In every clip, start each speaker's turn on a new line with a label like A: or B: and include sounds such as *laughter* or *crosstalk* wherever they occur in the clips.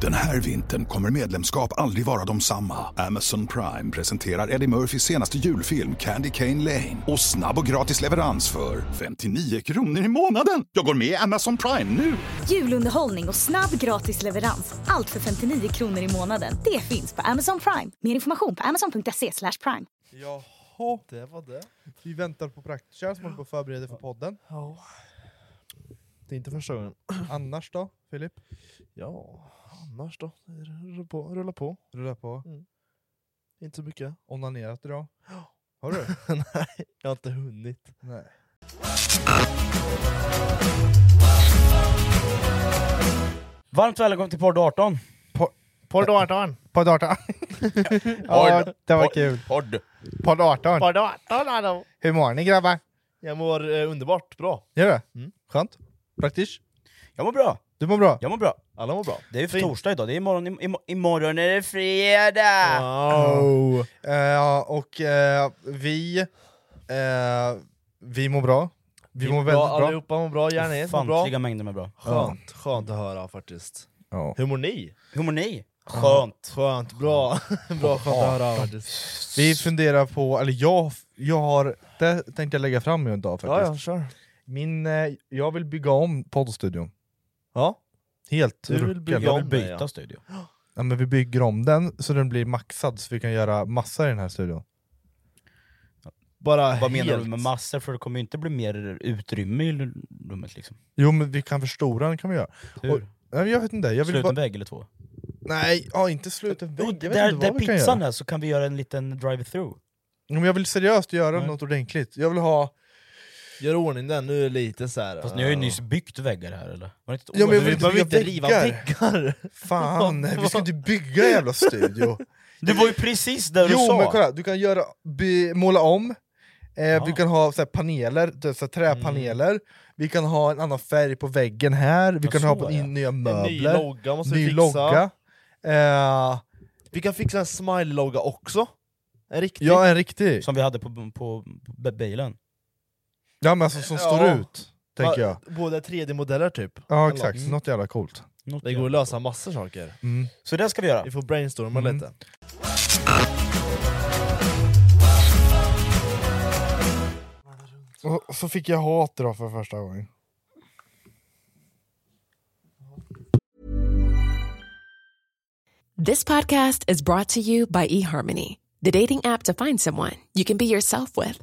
A: Den här vintern kommer medlemskap aldrig vara de samma. Amazon Prime presenterar Eddie Murphys senaste julfilm Candy Cane Lane. Och snabb och gratis leverans för 59 kronor i månaden. Jag går med i Amazon Prime nu!
B: Julunderhållning och snabb gratis leverans. Allt för 59 kronor i månaden. Det finns på Amazon Prime. Mer information på amazon.se slash prime.
C: Jaha, det var det. Vi väntar på praktikkärl som håller på att förbereda för podden.
D: Ja. Det är inte första gången.
C: Annars då, Filip?
D: Ja, annars då? Rulla på. Rulla på. Mm.
C: Rulla på.
D: Inte så mycket.
C: Onanerat idag? Har du?
D: *laughs* Nej, jag har inte hunnit.
C: Nej.
E: Varmt välkommen till podd 18.
D: Podd 18! *laughs*
C: Podd 18. ja, det var kul.
E: Podd.
C: Podd 18.
D: Podd 18 hallå!
C: Hur mår ni grabbar?
D: Jag mår eh, underbart bra.
C: Gör det?
D: Mm.
C: Skönt. Praktisch?
E: Jag mår bra.
C: Du mår bra?
E: Jag mår bra.
D: Alla mår bra.
E: Det är ju för
D: Fint.
E: torsdag idag, det är imorgon, im- im- imorgon är det fredag!
D: Wow.
C: Eh, Ja, och eh, vi... eh, vi mår bra. Vi, mår väldigt bra.
D: Allihopa mår bra, järnet mår bra.
E: Ofantliga mängder med bra.
D: Skönt, skönt att höra faktiskt.
C: Ja.
D: Hur mår ni?
E: Hur mår ni? Skönt.
D: Skönt, bra. *laughs* bra skönt att höra faktiskt.
C: Vi funderar på, eller jag, jag har, det tänkte jag lägga fram i en dag faktiskt.
D: Ja, ja, kör.
C: Min, eh, jag vill bygga om poddstudion.
D: Ja.
C: Helt
D: Du vill
C: ruckel.
D: bygga
C: Jag
D: om
C: by-
D: den, ja.
E: studio.
C: ja, men Vi bygger om den så den blir maxad så vi kan göra massa i den här studion.
D: Bara
E: Vad menar
D: helt.
E: du med massor? För det kommer ju inte bli mer utrymme i l- rummet liksom.
C: Jo men vi kan förstora den kan vi göra.
E: Hur?
C: Och- Nej, men jag vet inte, jag vill
E: Sluten
C: bara...
E: vägg eller två?
C: Nej, ja, inte sluten vägg.
E: Jo,
C: Jag vet
E: där
C: inte
E: där
C: vad vi kan
E: pizzan
C: göra.
E: är så kan vi göra en liten drive-through.
C: Ja, Men jag vill seriöst göra
E: Nej.
C: något ordentligt. Jag vill ha...
D: Gör i ordning den, nu är det lite så här.
E: Fast ni har ju nyss byggt väggar här eller? Var det inte ett
C: Ja,
E: år?
C: men jag
D: Du
C: vill inte
D: behöver inte
C: bygga
D: riva
C: väggar.
D: väggar!
C: Fan, nej, vi ska inte bygga en jävla studio.
E: Det var ju precis där du
C: Jo
E: sa!
C: men kolla, du kan göra, by, måla om, eh, vi
E: Ja.
C: kan ha så här, paneler, det är så här, träpaneler, vi kan ha en annan färg på väggen här, vi
E: Ja,
C: kan ha
E: så
C: på,
E: ja.
C: in, nya
D: En eh, ny
C: möbler,
D: logga måste vi
C: ny
D: fixa.
C: logga. Eh,
D: Vi kan fixa en smile-logga också. En riktig.
C: ja, en riktig.
E: Som vi hade på, på, på bilen.
C: Ja, men alltså, som
D: Ja.
C: står ut, tänker jag.
D: Va- Båda 3D-modeller typ.
C: Ja exakt,
D: Mm.
C: något jävla coolt.
E: Något
D: Det går att lösa massor saker.
C: Mm.
E: Så det ska vi göra.
D: Vi får brainstorma
C: Mm.
D: lite.
C: Och så fick jag hat då för första gången.
F: This podcast is brought to you by eHarmony, the dating app to find someone you can be yourself with.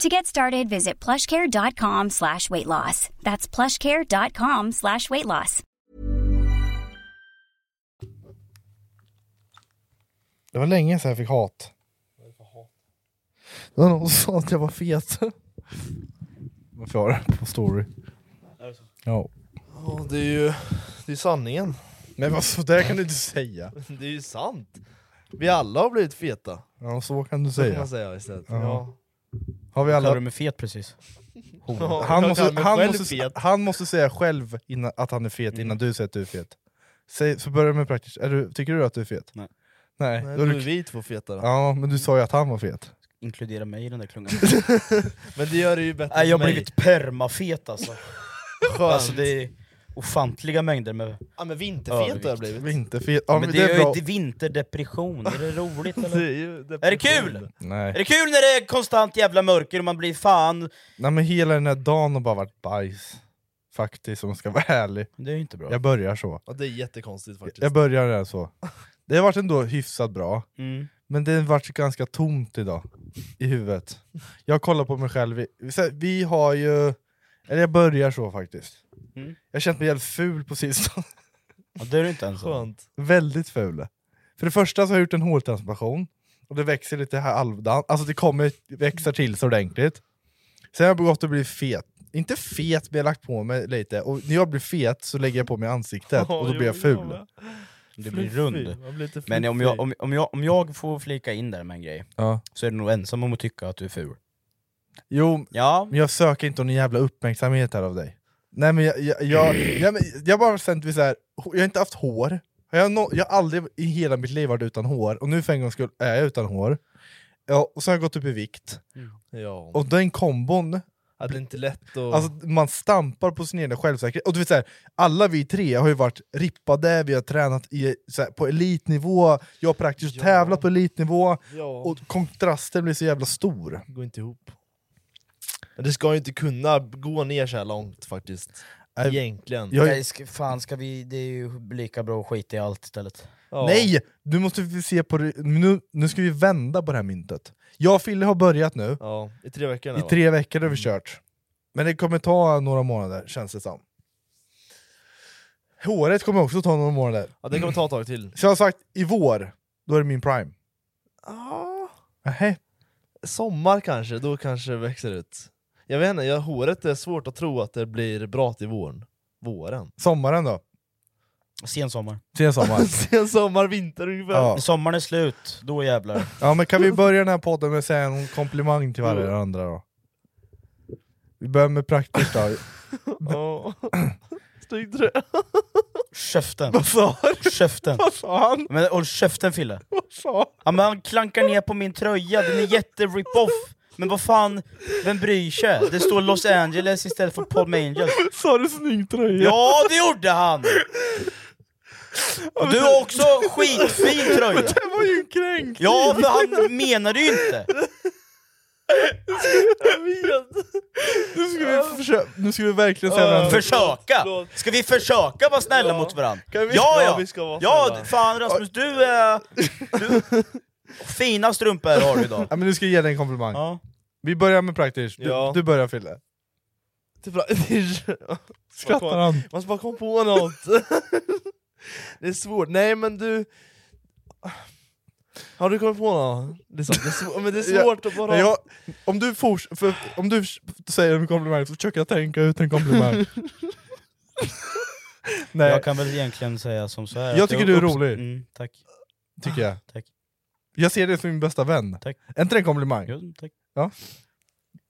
G: To get started, visit plushcare.com slash weight loss. That's plushcare.com slash weight loss.
C: Det var länge sedan jag fick hat. Det var någon som sa att jag var fet. Varför har det på story? Ja.
D: Ja, det är ju det är sanningen.
C: Men vad sådär kan du inte säga.
D: Det är ju sant. Vi alla har blivit feta.
C: Ja, så kan du
D: Så kan
C: säga.
D: man säga istället.
C: Ja.
D: Ja.
C: Har vi
E: Kallade du
C: alla...
E: mig fet precis?
D: Ja,
C: Han
D: jag
C: måste,
D: kallar mig
C: han,
D: själv
C: måste,
D: fet.
C: han måste säga själv innan, att han är fet innan du säger att du är fet. Säg, så börjar med praktiskt. Är du, tycker du att du är fet?
E: Nej.
C: Nej.
D: Nej,
C: då är
D: nu
C: du,
D: är vi två feta då.
C: ja, men du sa ju att han var fet.
E: Inkludera mig i den där *laughs* klungan.
D: Men det gör det ju bättre
E: Nej, jag har
D: för mig.
E: *laughs* blivit permafet alltså.
D: Skönt.
E: alltså det är, ofantliga mängder med...
D: Ja men vinterfet har jag blivit.
C: Vinterfet, ja,
E: men det, är ju inte vinterdepression, är *laughs* det roligt eller? Är det kul? Är
C: Nej.
E: det kul när det är konstant jävla mörker och man blir fan...
C: Nej men hela den här dagen har bara varit bajs. Faktiskt, om jag ska vara ärlig.
E: Det är ju inte bra.
C: Jag börjar så.
D: Ja, det är jättekonstigt faktiskt.
C: Jag börjar
E: *laughs*
C: redan så. Det har varit ändå hyfsat bra,
E: Mm.
C: men det har varit ganska tomt idag. I huvudet. Jag kollar på mig själv, i- så här, vi har ju... Eller jag börjar så faktiskt.
E: Mm.
C: Jag har känt mig jävligt ful på sistone. *laughs*
E: Ja, det är det inte ens.
D: Skönt.
C: Väldigt ful. För det första så har jag gjort en hårtransplantation, och det växer lite här halvdant, alltså det kommer växer till så ordentligt. Sen har jag gått och blivit fet. Inte fet, men jag har lagt på mig lite. Och när jag blir fet så lägger jag på mig ansiktet, och då blir jag ful.
E: Det blir
D: Fy,
E: rund.
D: man blir lite
E: Men om
D: fluffig.
E: jag, om, om, jag, om jag får flika in där med en grej,
C: Ja.
E: så är du nog ensam om att tycka att du är ful.
C: Jo,
E: Ja,
C: Men jag söker inte någon jävla uppmärksamhet här av dig. Nej men jag, jag, jag, jag, men jag har bara känt mig så här. h- jag har inte haft hår. Jag har, nå- jag har aldrig i hela mitt liv varit utan hår, och nu för en gångs skull är jag utan hår. Ja, och så har jag gått upp i vikt,
D: Ja.
C: och den kombon,
D: Ja, det är inte lätt att...
C: alltså man stampar på sin egen självsäkerhet. Och du vet så här, alla vi tre har ju varit rippade, vi har tränat i, så här, på elitnivå, jag har praktiskt
D: Ja.
C: tävlat på elitnivå,
D: ja.
C: och kontrasten blir så jävla stor.
D: Det går inte ihop. Men det ska ju inte kunna gå ner så här långt faktiskt.
C: Nej.
D: Egentligen.
C: Jag,
E: Nej, ska, fan ska vi, det är ju lika bra att skita i allt istället.
D: Ja.
C: Nej! Du måste vi se på det. Nu, nu ska vi vända på det här myntet. Jag och Fille har börjat nu.
D: Ja, i tre veckor nu
C: I
D: va?
C: tre veckor har vi kört. Men det kommer ta några månader, känns det som. Håret kommer också ta några månader.
D: Ja, det kommer ta ett tag till.
C: Så jag har sagt, i vår, då är det min prime. Ah.
D: Ja,
C: Nähä.
D: sommar kanske, då kanske det växer ut. Jag vet inte, jag, håret är svårt att tro att det blir bra till våren. Våren? *laughs*
C: Sommaren då?
E: Sensommar.
C: Sen sommar.
D: Sen sommar, vinter ungefär.
C: Ja.
E: När sommaren är slut, då jävlar.
C: *laughs* ja men kan vi börja den här podden med att säga en komplimang till varandra då? Vi börjar med praktiskt då.
D: Ja.
C: *clears throat*
D: Snyggt
C: *laughs*
D: trä.
E: Käften.
C: Vad sa du?
E: Käften.
C: Vad sa han?
E: Men håll käften Fille.
C: Vad sa
E: Ja, men han klankar ner på min tröja, den är jätte-rip-off. Men vad fan, vem bryr sig? Det står Los Angeles istället för Palm Angels.
C: Sa du snygg tröja?
E: Ja, det gjorde han! Och du har också skitfin tröja.
C: Det var ju en kränk!
E: Ja, för han menade ju inte.
C: Nu ska vi, försöka, nu ska vi verkligen säga varandra.
E: Försöka!
D: förlåt.
E: Ska vi försöka vara snälla
D: Ja.
E: mot varandra?
D: Kan vi-
E: ja,
D: ja,
E: ja!
D: vi ska vara
E: ja,
D: snälla.
E: fan Rasmus, du är... Du, fina strumpor har du idag.
C: Ja, men nu ska jag ge dig en komplimang.
E: Ja.
C: Vi börjar med praktiskt. Du,
D: Ja.
C: du börjar Fille.
D: Det är bra. Det är-
C: Skrattar han?
D: Man ska bara komma på något. *laughs* det är svårt. Nej men du... Har du kommit på något? Det är, sant. det är, svårt, men det är svårt att bara...
C: Nej, jag, om, du fors, för, om du säger en komplimang så försöker jag tänka ut
E: *laughs*
C: en komplimang. Nej,
E: Jag kan väl egentligen säga som så här.
C: Jag
E: att
C: tycker du är
E: upps-
C: rolig.
E: Mm, tack.
C: tycker jag.
E: Tack.
C: Jag ser dig som min bästa vän.
E: Tack.
C: Är inte det en komplimang?
E: Jo, tack.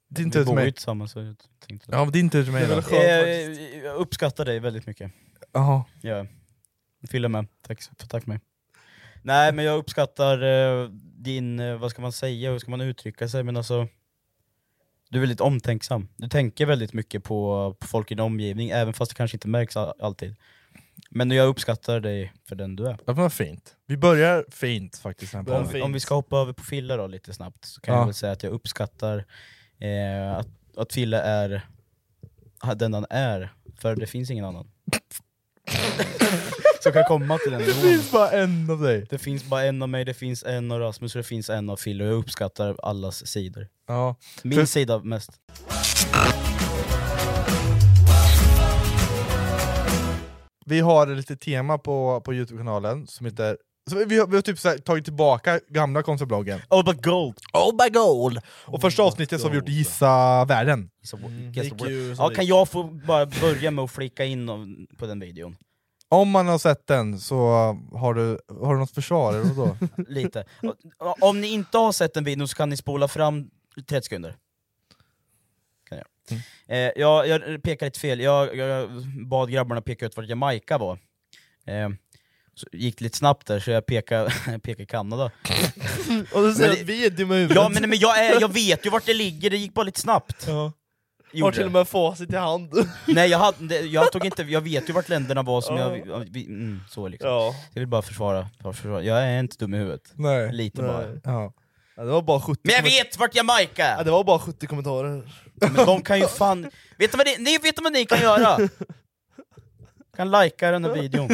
C: Det är inte
E: Vi
C: ut till
E: bor ju
C: mig.
E: tillsammans så jag tänkte...
C: Ja, men det är inte ut till mig. då.
E: Eh, jag uppskattar dig väldigt mycket.
C: Jaha.
E: Ja. Fyller med. Tack för tack mig. Nej men jag uppskattar eh, din, eh, vad ska man säga, hur ska man uttrycka sig? Men alltså, du är väldigt omtänksam. Du tänker väldigt mycket på, på folk i din omgivning, även fast det kanske inte märks all, alltid. Men jag uppskattar dig för den du är.
C: Ja, men vad fint. Vi börjar fint faktiskt. Den här
D: Börjar
C: podden.
D: fint.
E: Om vi ska hoppa över på Fille då lite snabbt, så kan
C: Ja.
E: jag väl säga att jag uppskattar eh, att, att Fille är den han är, för det finns ingen *laughs* annan. Som kan komma till den
C: Det
E: nivån.
C: finns bara en av dig.
E: Det finns bara en av mig, det finns en av Rasmus och det finns en av Phil och jag uppskattar allas sidor.
C: Ja.
E: Min
C: För-
E: sida mest.
C: vi har ett litet tema på, på Youtube-kanalen som heter... Så vi, vi har, vi har typ så här, tagit tillbaka gamla konstbloggen.
E: All but gold!
C: Oh my god! Och första avsnittet så har vi gjort Gissa världen.
E: Så-
D: Mm,
E: guess
D: gick
E: what?
D: ju som
E: Ja,
D: det
E: kan
D: gick.
E: jag få bara börja med att flika in om- på den videon?
C: Om man har sett den så har du, har du något försvar eller
E: *laughs*
C: vadå?
E: Lite. Och- Om ni inte har sett den videon så kan ni spola fram 30 sekunder. Kan jag. Eh, jag, jag pekade lite fel, jag, jag bad grabbarna peka ut vart Jamaica var. Eh, så gick det lite snabbt där så jag pekade, *laughs* pekade Kanada.
D: Och du säger
E: Men
D: att vi är dumma i huvudet.
E: Ja men, men jag, är, jag vet ju vart det ligger, det gick bara lite snabbt.
D: Ja. Har
E: gjorde.
D: till och med facit i hand.
E: Nej jag, hade, jag tog inte, jag vet ju vart länderna var som jag... jag- vi- Mm, så liksom.
D: ja.
E: Jag vill bara försvara, bara försvara, jag är inte dum i huvudet.
C: Nej.
E: Lite
D: Nej.
E: bara.
C: Ja.
D: Ja, det var bara 70
E: Men jag
D: komment-
E: vet vart Jamaica
D: ja,
E: är!
D: Det var bara 70 kommentarer.
E: Men de kan ju fan... Vet du vad ni, ni, vet du vad ni kan göra? Kan lajka den här videon.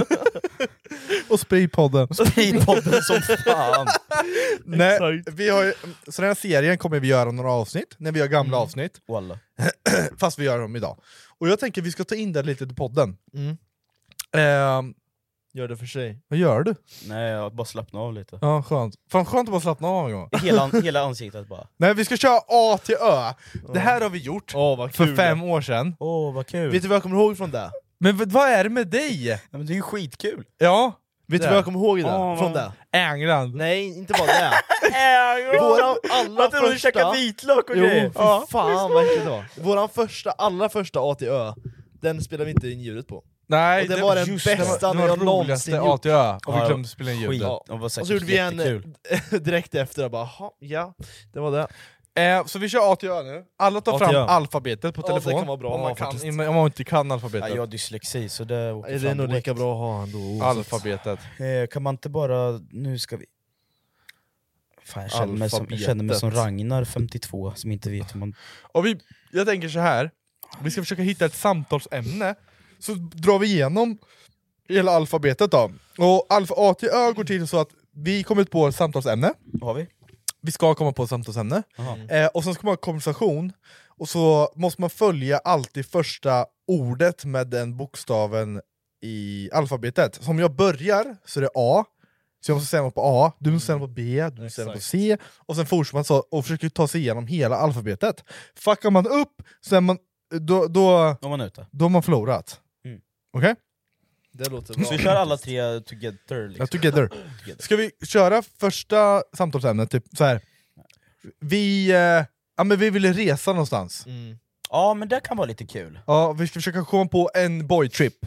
C: Och spridpodden.
E: Sprid podden som fan.
C: Nej, vi har ju, så den här serien kommer vi göra några avsnitt, när vi gör gamla
D: Mm.
C: avsnitt.
E: Walla.
C: fast vi gör dem idag. Och jag tänker vi ska ta in det lite till podden.
D: Mm.
C: Ehm,
D: Gör det för sig.
C: vad gör du?
E: Nej, jag bara slappna av lite.
C: Ja, skönt. Fan skönt att bara slappna av en gång.
E: Hela, hela ansiktet bara.
C: Nej, vi ska köra A till Ö. Det här har vi gjort
D: Åh vad
C: för
D: kul.
C: fem år sedan.
E: Åh, vad kul!
D: Vet du vad jag kommer ihåg från det?
C: Men v- vad är det med dig?
E: Ja, men det är ju skitkul!
C: Ja,
D: Vet du vad jag kommer ihåg det?
E: Åh,
D: från
E: vad-
D: det?
C: England.
D: Nej, inte bara det.
E: Våra
D: Våran allra
E: Att du käkar
D: första...
E: vitlök och
D: Jo, fy
E: grejer! Ja.
D: fan vad äckligt det var. Våran första, allra första A till Ö, den spelade vi inte in ljudet på.
C: Nej,
D: Och det var den
C: just
D: bästa
C: det var
D: när jag
C: det roligaste
D: någonsin
C: A till Ö. Och vi
E: Ja,
C: glömde spela in ljudet.
E: Skit,
D: Ja.
E: de var säkert
D: Och så gjorde vi en eh,
E: jättekul.
D: *laughs* direkt efter, jag bara "Jaha, ja, det var det.
C: Eh, så vi kör A till Ö nu. Alla tar
D: A till
C: fram
D: Ö.
C: alfabetet på
D: Ja, det
C: telefon.
D: kan vara bra
C: om,
D: att
C: man
D: ha faktiskt.
C: kan, om man inte kan alfabetet.
E: Ja, jag har dyslexi så det åker
D: Är det är
E: fram
D: nog
E: direkt.
D: lika bra att ha ändå.
C: Alfabetet.
E: Eh, Kan man inte bara, nu ska vi... Fan, jag, känner mig som, jag känner mig som Ragnar, 52, som inte vet hur man...
C: Och vi, jag tänker så här. vi ska försöka hitta ett samtalsämne, så drar vi igenom hela alfabetet då. Och alfa A till Ö går till så att vi kommer på ett samtalsämne,
E: Har vi?
C: vi ska komma på ett samtalsämne,
E: Aha.
C: eh, och sen ska man ha konversation, och så måste man följa alltid första ordet med den bokstaven i alfabetet. Så om jag börjar så är det A, så jag måste säga något på A, du måste säga något på B, du måste säga något på C, och sen fortsätter man så och försöker ta sig igenom hela alfabetet. Fuckar man upp, så är man, då, då,
E: Om man är ute.
C: då har man förlorat.
E: Mm.
C: Okej?
D: Det låter bra.
E: Så vi kör alla tre together liksom.
C: Together.
E: Together.
C: Ska vi köra första samtalsämnet, typ så här. Vi, eh, ja, men vi ville resa någonstans.
D: Mm.
E: Ja men det kan vara lite kul.
C: Ja, vi ska försöka komma på en boytrip.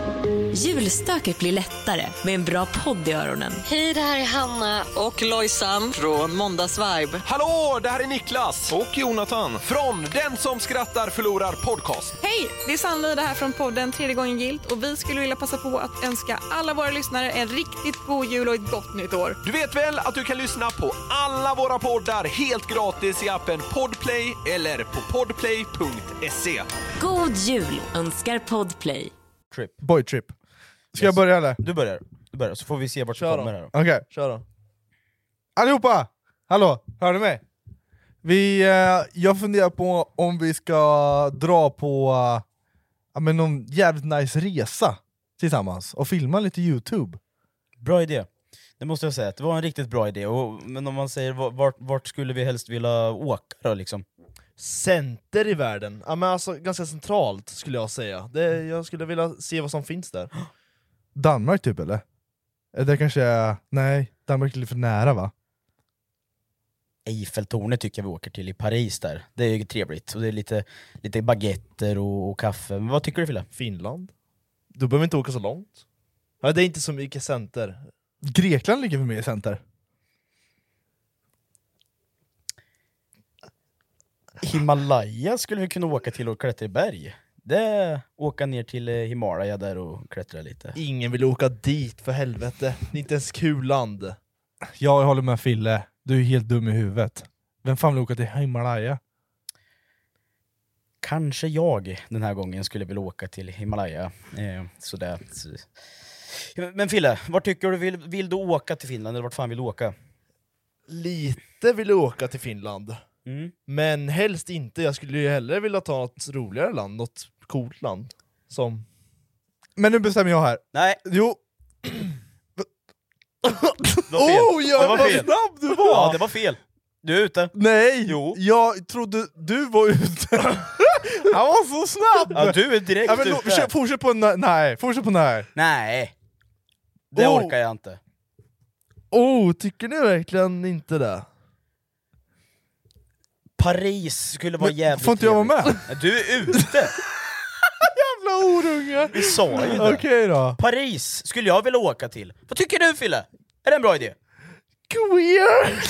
H: Julstöket blir lättare med en bra podd i öronen.
I: Hej, det här är Hanna och Lojsan från Måndagsvibe.
J: Hallå, det här är Niklas! Och Jonathan. Från Den som skrattar förlorar podcast.
H: Hej! Det är Sannlida här från podden Tredje gången gilt och vi skulle vilja passa på att önska alla våra lyssnare en riktigt god jul och ett gott nytt år.
J: Du vet väl att du kan lyssna på alla våra poddar helt gratis i appen Podplay eller på podplay.se.
H: God jul önskar Podplay.
E: Trip.
C: Boytrip. Ska jag
E: Yes.
C: börja eller?
E: Du börjar, du börjar så får vi se vart
D: Kör
E: du
D: då.
E: kommer här då.
C: Okej.
D: Kör då.
C: Allihopa! Hallå, hör ni mig? Vi, eh, jag funderar på om vi ska dra på eh, ja, men någon jävligt nice resa tillsammans och filma lite Youtube.
E: Bra idé. Det måste jag säga, att det var en riktigt bra idé. Och, men om man säger va- vart, vart skulle vi helst vilja åka då liksom?
D: Center i världen, ja, men alltså ganska centralt skulle jag säga. Det, jag skulle vilja se vad som finns där.
C: Danmark typ eller? Eller kanske är... Nej, Danmark är lite för nära va?
E: Eiffeltornet tycker jag vi åker till i Paris där. Det är ju trevligt. Och det är lite, lite baguetter och, och kaffe. Men vad tycker du Fille?
D: Finland? Du behöver inte åka så långt. Ja, det är inte så mycket center.
C: Grekland ligger väl med i center?
E: Himalaya skulle vi kunna åka till och klättra i berg. Det, åka ner till eh, Himalaya där och klättra lite.
D: Ingen vill åka dit för helvete. Det är inte ens kul land.
C: Jag håller med Fille, du är helt dum i huvudet. Vem fan vill åka till Himalaya?
E: Kanske jag den här gången skulle vilja åka till Himalaya. Eh, sådär. Så- Men Fille, vart tycker du, vill, vill du åka till Finland eller vart fan vill du åka?
D: Lite vill jag åka till Finland.
E: Mm.
D: Men helst inte, jag skulle ju hellre vilja ta något roligare land, något coolt land. Som...
C: Men nu bestämmer jag här.
E: Nej,
C: Jo,
E: det var fel.
C: Oh, ja,
E: det var
C: vad
E: fel.
C: snabb du var!
E: Ja, det var fel. Du är ute.
C: Nej!
E: Jo.
C: Jag trodde du
E: *laughs*
C: var ute. Han var så snabb!
E: Ja, du är direkt
C: Ja, men lo-
E: ute.
C: försök- fortsätt på nej, nej, fortsätt på nej.
E: Nej, det
C: Oh.
E: orkar jag inte.
D: Oh, tycker ni verkligen inte det?
E: Paris skulle vara
D: Men
E: jävligt
D: får inte jag vara
E: trevligt. Du är ute!
D: *laughs* Jävla orunge!
E: Vi sa ju det.
C: Okej då.
E: Paris skulle jag vilja åka till. Vad tycker du Fille? Är det en bra idé?
D: Queer!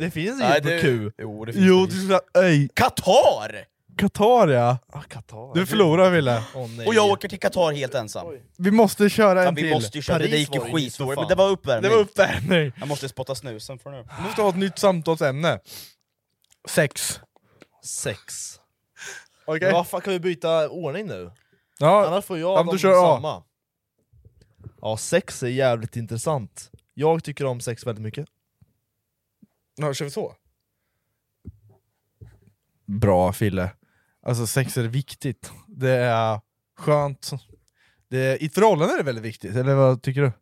D: det finns
E: Nej,
D: inget på
E: det-
D: Q.
E: Jo, det finns
D: Jo,
E: det
D: du skulle... Öj,
E: Qatar!
C: Qatar ja.
D: Ah, Qatar.
C: Du förlorar Wille.
D: Åh, nej.
E: Och jag åker till Qatar helt ensam.
C: Vi måste köra
E: Ja,
C: en
E: vi
C: till.
E: måste ju köra, det
D: Paris
E: gick ju
D: var ju nyss,
E: skitdåligt.
D: för
E: Men det var
C: Det
E: uppvärmning.
C: var uppvärmning.
E: Jag måste spotta snusen för nu.
C: Vi måste ha ett nytt samtalsämne. Sex.
D: Sex.
C: Okej?
D: Men vad fan, kan vi byta ordning nu?
C: Ja.
D: Annars får
C: Ja,
D: jag
C: men
D: dem
C: då kör jag.
D: samma. Ja, sex är jävligt intressant. Jag tycker om sex väldigt mycket.
C: ja, kör vi så? Bra Fille. Alltså sex är viktigt. Det är skönt. Det är, I ett förhållande är det väldigt viktigt, eller vad tycker du?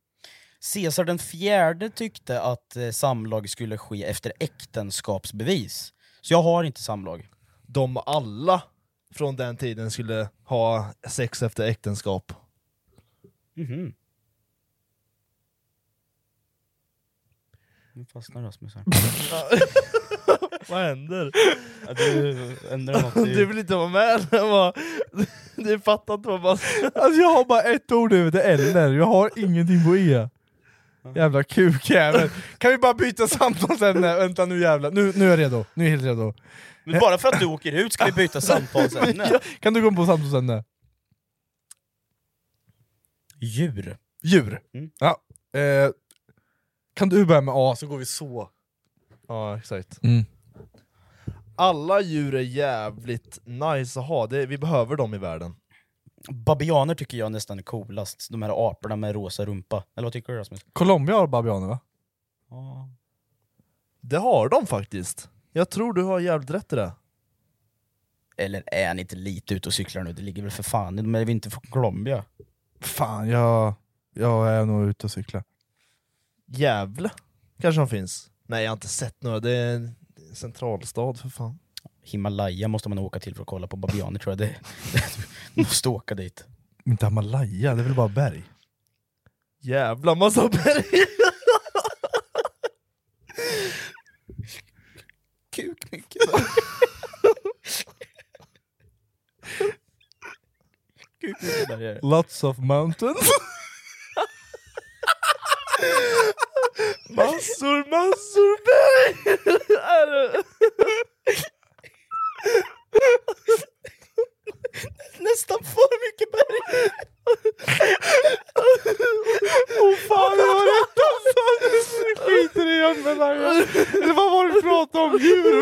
E: Caesar den fjärde tyckte att eh, samlag skulle ske efter äktenskapsbevis. Så jag har inte samlag.
D: De alla från den tiden skulle ha sex efter äktenskap.
E: Mhm. Nu fastnar Rasmus här.
D: Vad händer?
E: Ja, Du ändrar något.
D: *laughs* Du
E: Du...
D: vill inte vara med? Jag bara- Du fattar inte vad man...
C: *laughs* Alltså jag har bara ett ord i huvudet, eller. Jag har ingenting på E. Jävla kukjävel. Kan vi bara byta samtalsämne? Vänta nu jävlar. Nu, nu är jag redo. Nu är jag helt redo.
E: Men bara för att du åker ut ska vi byta samtalsämne.
C: Kan du gå in på samtalsämne?
E: Djur.
C: Djur.
E: Mm.
C: Ja. Eh, kan du börja med A så går vi så.
D: Ja, exakt.
C: Mm.
D: Alla djur är jävligt nice att ha, det, vi behöver dem i världen.
E: Babianer tycker jag nästan är coolast. De här aporna med rosa rumpa. Eller vad tycker du Rasmus?
C: Colombia har babianer va?
E: Ja.
D: Det har de faktiskt. Jag tror du har jävligt rätt i det.
E: Eller är han inte lite ute och cyklar nu? Det ligger väl för fan i... De är väl inte från Colombia?
C: Fan, jag, jag är nog ute och cyklar.
D: Gävle kanske de finns? Nej, jag har inte sett några. Det är en centralstad för fan.
E: Himalaya måste man åka till för att kolla på babianer tror jag. Det, *laughs* det, måste åka dit.
C: Inte Himalaya, det är väl bara berg?
D: Jävla massa berg! *laughs*
E: Kuknyckel. Kuknyckelbergare.
C: Lots of mountains.
D: Massor, massor berg! Är det-
E: Nästan för mycket berg!
C: Åh fan, det var rätt alltså! Vi skiter i Himalaya. Eller vad var det vi pratade om? Djur?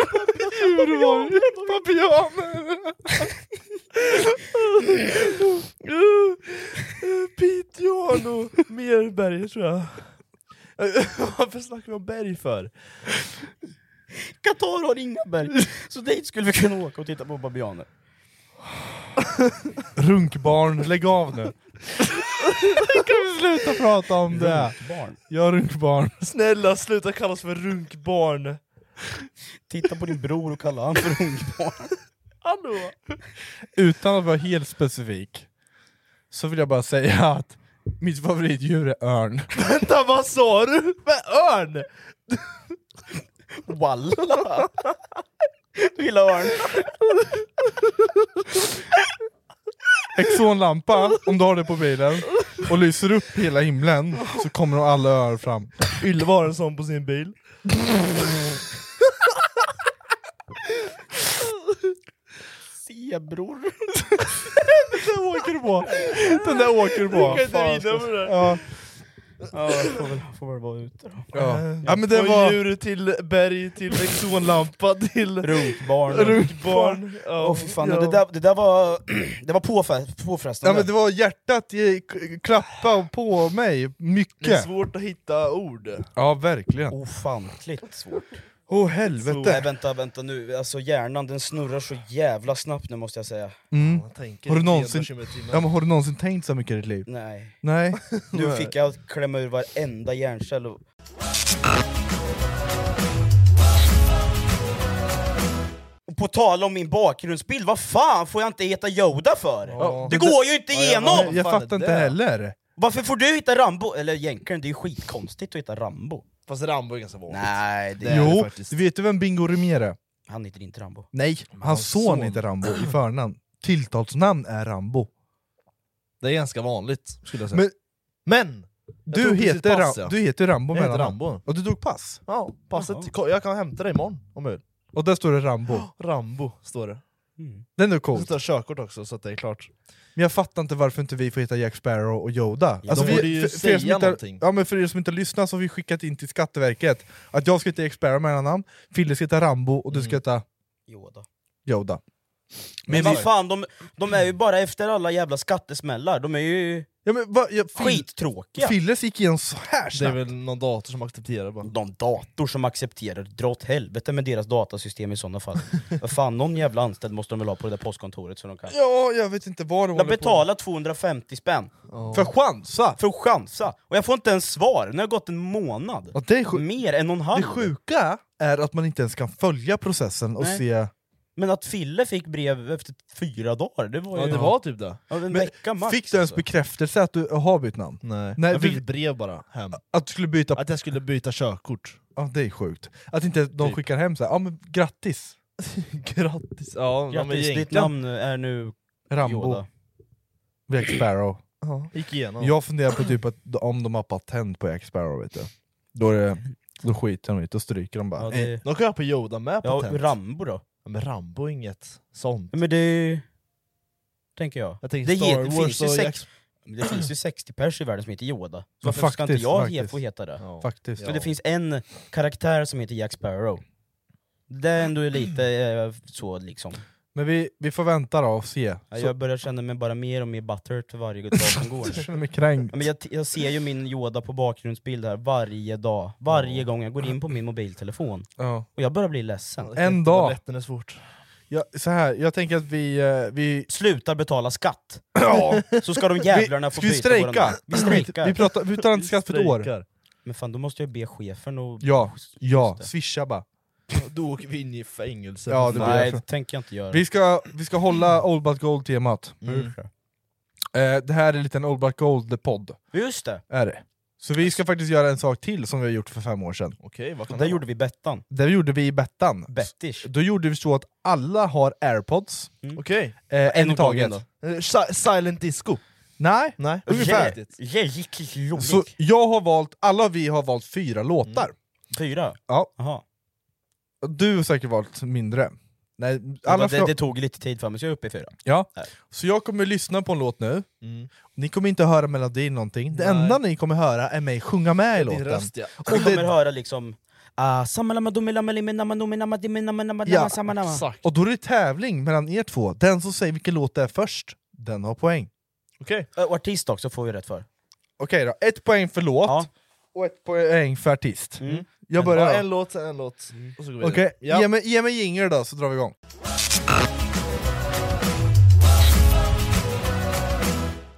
C: Djur var det. Babianer.
D: Piteå har nog mer berg tror jag.
C: *laughs*
D: Varför snackar vi om berg för?
E: Qatar har inga berg. Så dit skulle vi kunna åka och titta på *laughs* babianer.
C: Runkbarn, lägg av nu. *laughs* kan vi sluta prata om det?
E: Runkbarn.
C: Jag är runkbarn.
D: Snälla sluta kalla oss för runkbarn!
E: Titta på din bror och kalla han för runkbarn.
D: Hallå!
C: Utan att vara helt specifik så vill jag bara säga att mitt favoritdjur är örn.
D: *laughs* Vänta vad sa du? Med örn? *laughs*
E: Walla! Du gillar örn.
C: Exonlampa, om du har det på bilen och lyser upp hela himlen så kommer de alla örn fram.
D: Ylva har en sån på sin bil.
E: Zebror.
C: Den åker du på! Den där åker du på!
D: kan inte
C: Fan,
D: vinna
C: alltså.
D: med det där.
C: ja,
E: Ja, jag får väl, får väl vara ute då.
C: ja. ja men det
D: Från
C: var...
D: Eh, djur till berg till exonlampa *laughs* till
E: Runkbarn.
D: runkbarn.
E: Åh
D: Ja,
E: fy fan,
D: ja.
E: det, där, det där var, det var påfä- påfrestande.
C: Ja, men det var hjärtat i, klappa på mig,
D: Det är
C: mycket.
D: svårt att hitta ord.
C: Ja verkligen.
E: Ofantligt svårt.
C: Åh oh,
E: Nej,
C: helvete!
E: vänta, vänta nu. Alltså hjärnan den snurrar så jävla snabbt nu måste jag säga.
C: Mm.
D: Man tänker
C: Har du
D: 300
C: någonsin-
D: km i timmen.
C: Ja, men har du någonsin tänkt så mycket i ditt liv?
E: Nej.
D: *laughs*
C: Nej.
E: Nu fick jag klämma ur varenda hjärncell. och- Och på tal om min bakgrundsbild, vad fan får jag inte heta Yoda för?
C: Ja.
E: Det går ju inte
C: Ja,
E: igenom!
C: jag
D: fan är
C: fattar inte
D: det?
C: heller.
E: Varför får du hitta Rambo? Eller jänkaren, det är ju skitkonstigt att hitta Rambo.
D: Fast Rambo är ganska vanligt.
E: Nej, det är det
C: Jo,
E: faktiskt.
C: vet du vem Bingo Rimér är?
E: Han heter inte Rambo.
C: Nej, hans son heter Rambo i förnamn. Tilltalsnamn är Rambo.
D: Det är ganska vanligt skulle jag säga.
C: Men
D: Men! jag
C: du
D: tog precis
C: heter,
D: pass,
C: Ra-
D: ja.
C: du heter Rambo
D: Jag heter
C: mellan
D: Rambo.
C: Och du tog pass?
D: Ja, passet. ko- Jag kan hämta dig imorgon om jag vill.
C: Och där står det Rambo.
D: Rambo står det.
C: Det är ändå
D: Och så
C: coolt.
D: tar jag körkort också så att det är klart.
C: Men jag fattar inte varför inte vi får heta Jack Sparrow och Yoda. Alltså,
D: Ja, de borde ju
C: för, för, er som
D: säga
C: inte,
D: någonting.
C: ja, men för er som inte lyssnar så har vi skickat in till Skatteverket att jag ska heta Jack Sparrow med namn, Fille ska heta Rambo och du
D: Mm.
C: ska heta
E: Yoda.
C: Yoda.
E: Men vad fan, de, de är ju bara efter alla jävla skattesmällar, de är ju
C: Ja, men, vad- ja, Fil-
E: skittråkiga.
C: Filles gick igenom så här
D: Det är
C: snabbt.
D: väl någon dator som accepterar bara.
E: De dator som accepterar, dra åt helvete med deras datasystem i sådana fall. Vad fan, någon jävla anställd måste de väl ha på det där postkontoret så de kan...
C: Ja, jag vet inte vad det
E: Jag
C: håller på
E: betalar 250 spänn
C: För chansa!
E: för att chansa, och jag får inte ens svar, nu har det gått en månad.
C: Ja, det är
D: Mm.
C: sjukt.
E: Mer än någon halv.
C: Det sjuka är att man inte ens kan följa processen och
E: Nej.
C: se...
E: Men att Fille fick brev efter fyra dagar, det var ju...
D: Ja det var typ det.
E: Ja, en
C: Men
E: vecka max.
C: Fick du ens
E: alltså.
C: bekräftelse att du har bytt namn?
D: Nej.
C: Nej,
D: jag fick
C: vi-
D: ett brev bara hem.
C: Att du skulle byta...
D: Att jag skulle byta körkort.
C: Ja, det är sjukt. Att inte de
D: Typ.
C: skickar hem så här, ja men grattis
D: Grattis! Ja, ja, men
E: Grattis, ditt
D: egentligen-
E: namn är nu
C: Rambo,
E: Yoda.
C: Jack Sparrow.
D: Gick igenom.
C: Jag funderar på typ att om de har patent på Jack Sparrow vet du. Då, är det, då skiter de i det, då stryker de bara.
E: Ja, det...
D: De kan jag på Yoda med
E: ja,
D: patent.
E: Rambo då?
D: Ja, men Rambo är inget sånt.
E: Ja, men det... Tänker jag.
D: Jag tänker
E: Det
D: Star
E: heter- det
D: Wars
E: finns ju
D: och
E: sex- Men Det
C: *clears throat*
E: finns ju 60 pers i världen som heter Yoda, så
C: Ja,
E: varför ska inte
C: faktiskt,
E: jag he-
C: faktiskt.
E: få heta det?
D: Ja.
C: Faktiskt.
E: Men det finns en karaktär som heter Jack Sparrow. Det är ändå lite eh, så liksom.
C: Men vi, vi får vänta då och se.
E: Ja, Jag börjar känna mig bara mer och mer buttered för varje dag som går.
C: *laughs* Jag känner mig kränkt.
E: Ja, Men jag, t- jag ser ju min Yoda på bakgrundsbild här varje dag, varje gång jag går in på min mobiltelefon.
C: Ja.
E: Och jag börjar bli ledsen.
C: En
D: Det var
C: dag.
D: lätt när det är svårt.
C: Jag, så här, jag tänker att vi... eh, vi
E: Slutar betala skatt,
C: ja,
E: så ska de jävlarna få
C: vi
E: byta våra
C: strejka!
E: namn. Vi strejkar!
C: vi, pratar, vi tar inte skatt för ett år.
D: Strejkar.
E: Men fan, då måste jag be chefen och...
C: Ja, ja,
E: Just det.
C: swisha bara.
D: Då åker vi in i fängelse.
C: Ja, det blir
E: Nej,
C: därför.
E: det tänker jag inte göra.
C: Vi ska, vi ska hålla Old But Gold-temat.
D: Mm.
C: Eh, det här är lite en Old But Gold-podd.
E: Just det!
C: Är det. Så vi ska faktiskt göra en sak till som vi har gjort för fem år sedan.
D: Okej, vad kan
E: Där
D: det vara?
E: gjorde vi Bettan.
C: Det gjorde vi i Bettan.
E: Bettish.
C: Då gjorde vi så att alla har airpods,
D: Okej.
C: eh, en i
E: åt gången
C: taget.
D: Eh, si- Silent disco.
C: Nej,
D: Nej,
C: ungefär.
E: Jäkligt
C: Så
E: roligt.
C: jag har valt, alla vi har valt fyra låtar.
E: Fyra?
C: Ja.
E: Jaha.
C: Du har säkert valt mindre. Nej, alla
E: Alla
C: får-
E: det, det tog lite tid för mig, så jag är uppe i fyra.
C: Ja.
E: Nej.
C: Så jag kommer lyssna på en låt nu,
D: Mm.
C: ni kommer inte höra melodin någonting, det
D: Nej.
C: enda ni kommer höra är mig sjunga med i
D: Din
C: låten.
D: röst ja.
E: Och kommer höra liksom... Ah, samalama domelama limenama nomenama dimenama namanama
C: Ja,
E: samanama.
D: Exakt.
C: Och då är det tävling mellan er två, den som säger vilken låt det är först, den har poäng.
D: Okej.
E: Ö, Och artist också får vi rätt för.
C: Okej då, ett poäng för låt
E: Ja.
C: och ett poäng för artist.
E: Mm.
C: Jag
D: Ja,
C: börjar.
D: en låt, en låt. Mm. Och så går vi
C: Okej,
D: vidare. Ja.
C: ge mig, ge mig jingle då så drar vi igång.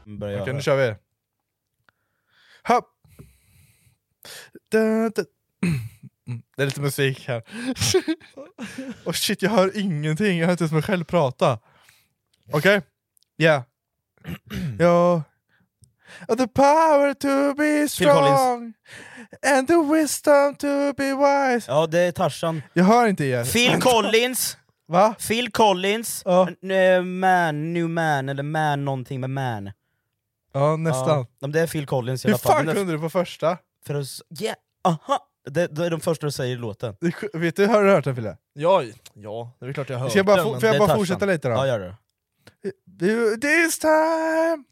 E: Börjar jag
C: Okej, nu
E: höra.
C: kör vi. Hopp. Da, da. Mm, *clears throat* Det är lite musik här. *laughs* Och shit, jag hör ingenting. Jag hör inte ens mig själv prata. Okej? Ja. *clears throat* Ja. The power to be strong and the wisdom to be wise.
E: Ja, det är Tarzan.
C: Jag hör inte er. *laughs*
E: Phil Collins!
C: Va?
E: Phil Collins!
C: Ja.
E: N- eh, Man, new man, eller man någonting med man.
C: Ja, nästan.
E: Ja, men det är Phil Collins i
C: Hur
E: alla fall.
C: fan
E: Men det-
C: kunde du på första?
E: För att... s- Yeah! Aha! Det, det är de första du säger i låten.
C: Det är sj- Vet du, har du hört den Fille?
D: Ja, ja, det är klart jag har hört
C: Ska jag bara,
D: den,
C: få-
D: men
C: får jag
E: det är
C: bara
E: Tarzan.
C: fortsätta lite då?
E: Ja, gör det.
C: This time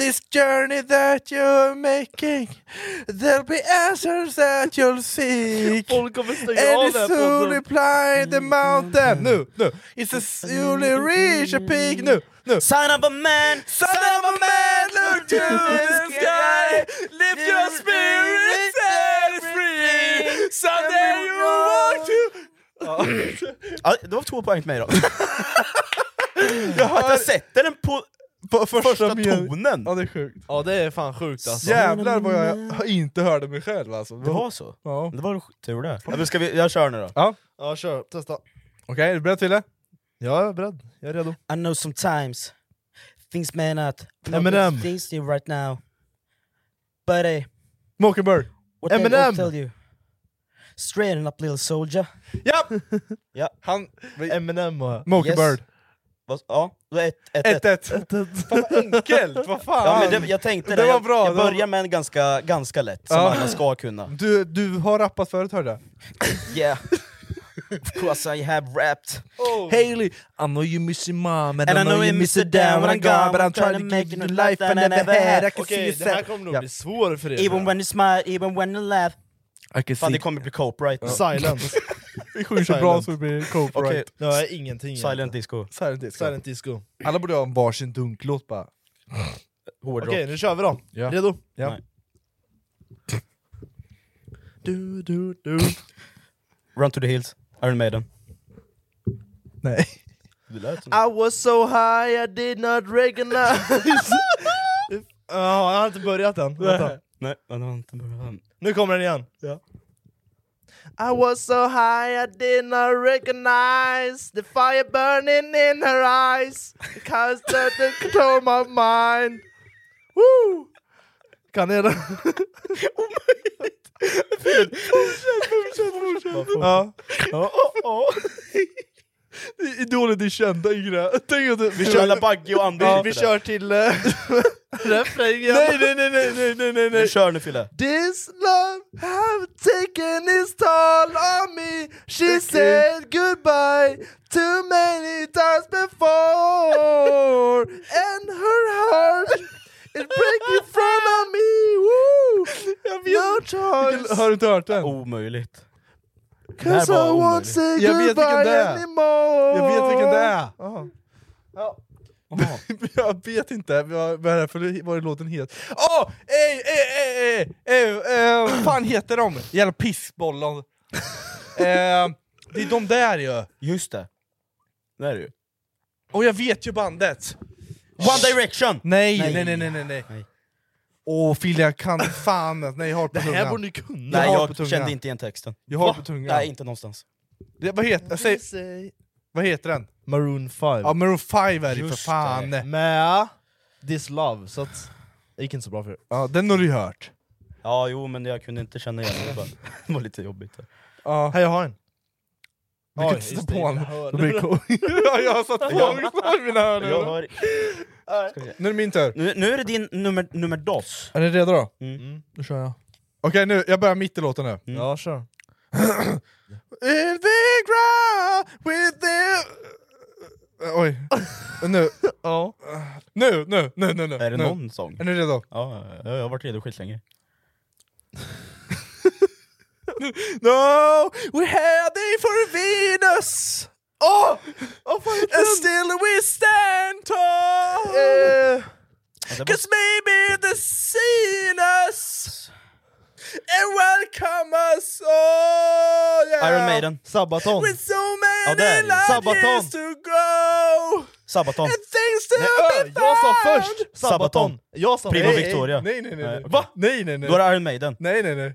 C: This journey that you're making There'll be answers that you'll seek
D: Folk kommer stänga
C: And
D: av
C: it's
D: den här
C: soon
D: podden!
C: reply the mountain Nu, nu! It's a slowly reach a peak Nu, nu!
E: Sign up a man!
C: Son of a man, look to the sky Lift your spirit and free Someday you will walk to...
E: Ja, det var två poäng till mig då. Att *laughs* jag sätter den på
C: På första,
E: första
C: meningen.
E: tonen!
C: Ja det är sjukt
D: Ja det är fan sjukt alltså.
C: Jävlar vad jag inte hörde mig själv alltså.
E: Det var så?
C: Ja.
E: Det var tur det. Ja, men ska vi, jag kör nu då.
C: Ja.
D: Ja kör, testa.
C: Okej, är du beredd Fille?
D: Ja, jag är beredd, jag är redo.
E: I know sometimes Things man out.
D: Eminem.
E: Things you right now. Buddy.
D: Mockingbird.
E: What they
D: Eminem!
E: won't tell you. Straighten up little soldier.
D: Ja!
E: Ja.
D: Han, Eminem och...
E: Yes. Vad- Ja, det var ett, ett, ett.
D: 1-1. Fan vad enkelt, vad fan!
E: Ja, men det, jag tänkte det,
D: Det var
E: jag,
D: bra,
E: jag
D: det var-
E: börjar med en ganska, ganska lätt, som
D: Ja.
E: alla ska kunna.
D: Du, du har rappat förut hörde jag.
E: *laughs* Yeah. of course I have rapped.
D: Haley, I know you miss your mom and,
E: And
D: I know you miss it down when I'm gone But I'm trying to
E: make
D: make you
E: it
D: the life I never had I can see you sad Ja.
E: svårt för er. Even when you smile, even when you laugh.
D: I can
E: Fan
D: see-
E: det kommer bli copyright. nu.
D: *laughs* Silence.
C: Vi sjunger så bra så det blir
E: Okej,
C: copyright.
D: Nu har jag ingenting
E: Silent disco.
C: Silent disco.
D: Silent disco.
C: Alla borde ha en varsin dunklåt bara.
E: Hårdrock.
D: Okej, nu kör vi då.
C: Ja.
D: Redo?
C: Ja.
E: Nej.
D: Du, du, du.
E: Run to the hills, Iron Maiden.
C: Nej.
E: Det lät som...
D: I was so high I did not *laughs* recognize Ja, han har inte börjat än. Vänta.
E: Nej, men det var inte bra.
D: Nu kommer den igen. I was so high I did not recognize the fire burning in her eyes Cause that the control my mind Woo! Kan ni den? Ja. Ja, oh, oh.
C: Idolen är kända yngre. Tänk att du...
D: Vi
E: Kör alla
D: kör,
E: Bagge och Anders.
D: vi kör
E: *laughs*
D: till eh, refrängen.
C: Nej, nej, nej, nej, nej, nej,
E: Nu
C: nej, nej.
E: kör nu Fille.
D: This love have taken its toll on me She said goodbye too many times before And her heart is breaking from me Woo! No
C: Vilken- Har du
D: choice
C: inte hört den?
E: Omöjligt.
D: Cause
E: Det här
D: I
E: var
D: won't say
C: Jag vet vilken
D: goodbye
C: det är.
D: anymore
C: Jag vet vilken det är!
E: Jaha.
C: *laughs* Jag vet inte vad vad är det för vad är låten heter. Åh! Ey, ey, ey, ey, ey, eh, Vad fan heter de? Jävla pissbollar. eh, det är de där ju.
E: Just det. Det är det ju.
C: Och jag vet ju bandet.
E: One Direction!
C: Nej,
E: Nej.
C: nej, nej, nej, nej. nej.
E: Nej.
C: Åh Fille, jag kan fan att- Nej, jag har det på tungan.
D: här borde ni kunna!
E: Nej,
C: har på
E: jag
C: tungan.
E: kände inte igen texten.
C: Jag har
E: Va?
C: på tungan.
E: Nej, inte någonstans.
C: Det, vad, heter, säg, vad heter den?
D: Maroon 5
C: Ja, Maroon 5 är det ju för
E: Just
C: fan.
D: med This Love, så att det gick inte så bra för er.
C: Ja, den har du ju hört.
E: Ja, jo men jag kunde inte känna igen det.
C: *laughs*
E: bara. Det var lite jobbigt.
C: Ja.
D: Här, jag har en.
C: Du kan
D: Oj,
C: inte
D: just
C: sätta på
D: det,
C: den.
D: jag hör
C: Då blir det cool. ja, jag har satt på mina
E: Jag
C: hörlurar.
E: hör... Ska vi se.
C: Nu är det min tur.
E: Nu, nu är det din nummer, nummer dos.
C: Är ni redo då?
E: Mm.
C: Då kör jag. Okej, nu, jag börjar mitt i låten nu.
D: Ja, kör.
C: In the ground with the... Eh, Oj. Nu. ja. Nu, nu, nu, nu, nu.
E: Är det
C: nu.
E: någon sång?
C: Är ni redo?
E: Ja, jag har varit redo skitlänge.
C: *laughs* No, we had thee for Venus! Oh! And still we stand tall!
E: Ja, det var-
C: Cause maybe the seen us And welcome us all yeah.
E: Iron Maiden,
D: Sabaton.
C: With so
E: Ja,
C: many
E: det är det.
C: light
D: Sabaton.
C: years to go
E: Sabaton,
C: And things to
D: Nej,
C: be found
D: jag sa först! Sabaton.
E: Sabaton.
D: Jag sa
E: Primo
D: Nej,
E: Victoria.
C: Nej nej nej, nej.
E: okej.
C: Va? Nej nej nej
E: Då är det Iron Maiden.
C: Nej nej nej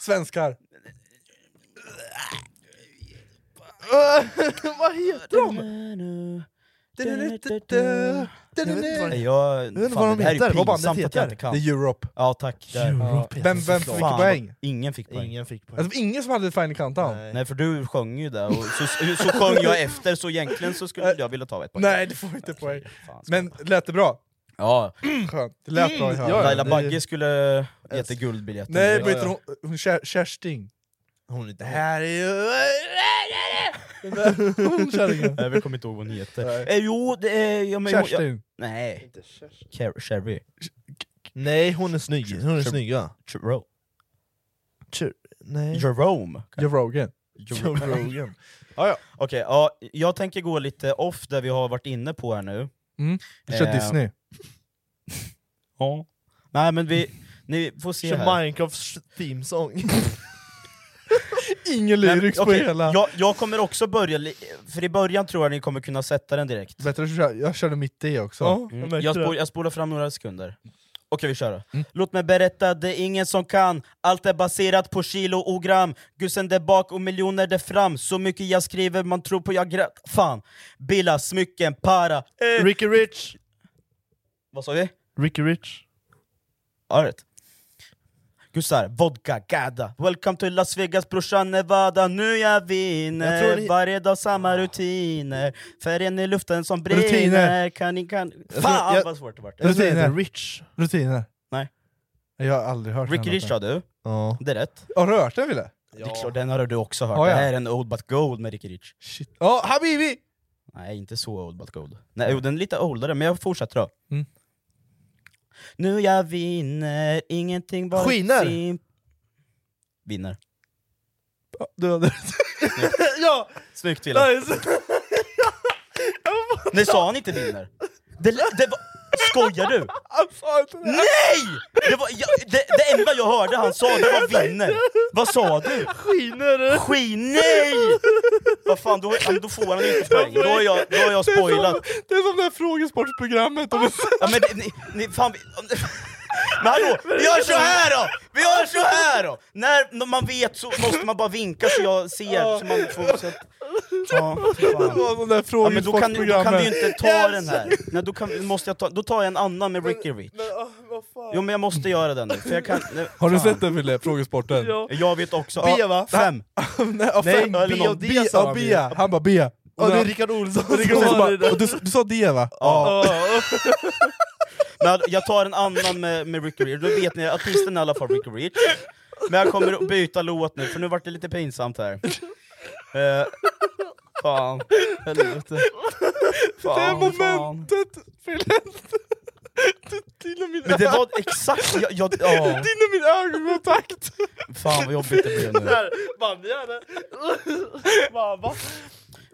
C: Svenskar.
D: *laughs* Vad heter de?
E: Nej, jag,
C: undrar
E: fan,
C: vad de
E: det här
C: heter,
E: är
C: vad
E: ju
C: bandet
E: pinsamt att
C: heter.
E: jag inte kan.
C: Det är Europe.
E: Ja tack. där.
C: Europe
E: ja.
C: heter Vem- vem fick
E: Fan,
C: poäng?
E: Ingen fick poäng. Ingen fick poäng.
C: Alltså, ingen som hade Final Countdown? Nej,
E: Nej för du sjöng ju där, och så, så sjöng jag efter, så egentligen så skulle jag vilja ta ett poäng.
C: du får inte poäng. Men lät det bra?
E: Ja.
C: Skönt. Det lät bra i
D: Mm,
C: höra.
E: Laila Bagge skulle gett guldbiljetten.
C: Nej, vad heter hon? hon Ker- Kersting.
E: Hon är
D: Det
C: er
D: här är *laughs* ju...
C: Hon kärringen.
E: Nej, vi kommer inte ihåg vad hon heter.
D: Nej.
E: Eh, jo, det är... Ja, men, jag-
D: Kerstin.
E: nej. Inte Kerstin. Sherry.
D: Nej, hon är snygg. Hon är snygg va?
E: Jerome.
D: Nej.
E: Jerome.
C: Jerogen.
D: Joe Rogan.
E: ja, ja. *laughs* Okej, ja, jag tänker gå lite off där vi har varit inne på här nu.
C: Mm. Du kör
E: Eh,
C: Disney.
E: Ja. Nej men vi, ni får se här.
D: Kör Minecrafts theme song.
E: Mm.
D: *laughs*
C: Ingen
E: Nej, men,
C: lyrics på
E: okej,
C: hela.
E: Jag, jag kommer också börja, li- för i början tror jag ni kommer kunna sätta den direkt.
C: Bättre att köra, jag körde mitt i också.
E: Mm. Jag, spol, jag spolar fram några sekunder. Okej vi kör då.
D: Mm.
E: Låt mig berätta, det är ingen som kan Allt är baserat på kilo och gram Gussen där bak och miljoner där fram Så mycket jag skriver, man tror på jag grät Fan! Bilar, smycken, para eh.
D: Ricky Rich!
E: Vad sa vi?
D: Ricky Rich.
E: All right. Gussar, vodka, gada Welcome to Las Vegas brorsan Nevada Nu jag vinner,
D: Jag tror ni-
E: varje dag samma rutiner Färgen i luften som brinner
C: Rutiner.
E: Kan ni, kan...
D: tror-
E: Fan
D: jag-
E: vad svårt det vart!
C: Rutiner.
D: Rich.
C: Rutiner.
E: Nej.
C: Jag har aldrig hört
E: Ricky Rich sa
C: låten.
E: du,
D: Ja.
E: det är rätt
C: Har du hört den Wille?
E: Det är klart, den har du också hört.
C: Har
E: det
C: jag?
E: här är en Old But Gold med Ricky Rich.
C: Ja, Habibi!
E: Nej, inte så Old But Gold. Nej, jo, den är lite oldare, men jag fortsätter då.
C: Mm.
E: Nu jag vinner, ingenting var
D: Skiner!
E: sim- Vinner. *laughs*
C: Du hade
D: ja!
E: Snyggt Wille. *laughs*
D: Nice!
E: Nej, sa han inte vinner? Det, det var... Skojar
D: *laughs*
E: du?
D: Han sa inte det!
E: Nej! Det, var, jag, det, det enda jag hörde han sa det var vinner. Vad sa du?
D: Skiner!
E: Skin, nej! Vad fan, då, då får han inte poäng. Då har jag, då har jag spoilat.
C: Det är som det här frågesportprogrammet. om- *laughs*
E: Ja men det- ni, ni fan... vi- Men hallå, vi gör så här då! Vi gör så här då! När man vet så måste man bara vinka så jag ser, så man får... Så att, ja, fy
C: Det
E: fan.
C: var som det här
E: ja, men då kan, då kan vi ju
C: frågesportprogrammet.
E: inte ta den här. Nej, då, kan, måste jag ta, då tar jag en annan med Ricky Rich. Jo men jag måste göra den nu, för jag kan... Nej,
C: Har du
E: fan.
C: sett den Wille? Frågesporten?
E: Jag vet också.
D: B, va?
E: Fem.
C: *laughs* Nej, av
E: Nej,
C: fem.
E: eller
C: B och
E: något.
C: D
D: sa
C: sa
D: han ju.
C: han. Han bara B.
D: Ja, det är Rickard Olsson
C: *laughs* Och Rickard Olsson bara, "Och du, du sa D va?
E: Ja. *laughs* Men jag tar en annan med, med Ricky Rich, då vet ni artisten är i alla fall Ricky Rich. Men jag kommer att byta låt nu, för nu vart det lite pinsamt här. Eh, fan, helvete. Fan,
C: Det
E: fan.
C: momentet, Fille! Du- Till och med
E: Men det var exakt, jag, jag, ja,
C: Din och min ögonkontakt!
E: fan vad jobbigt det blev nu.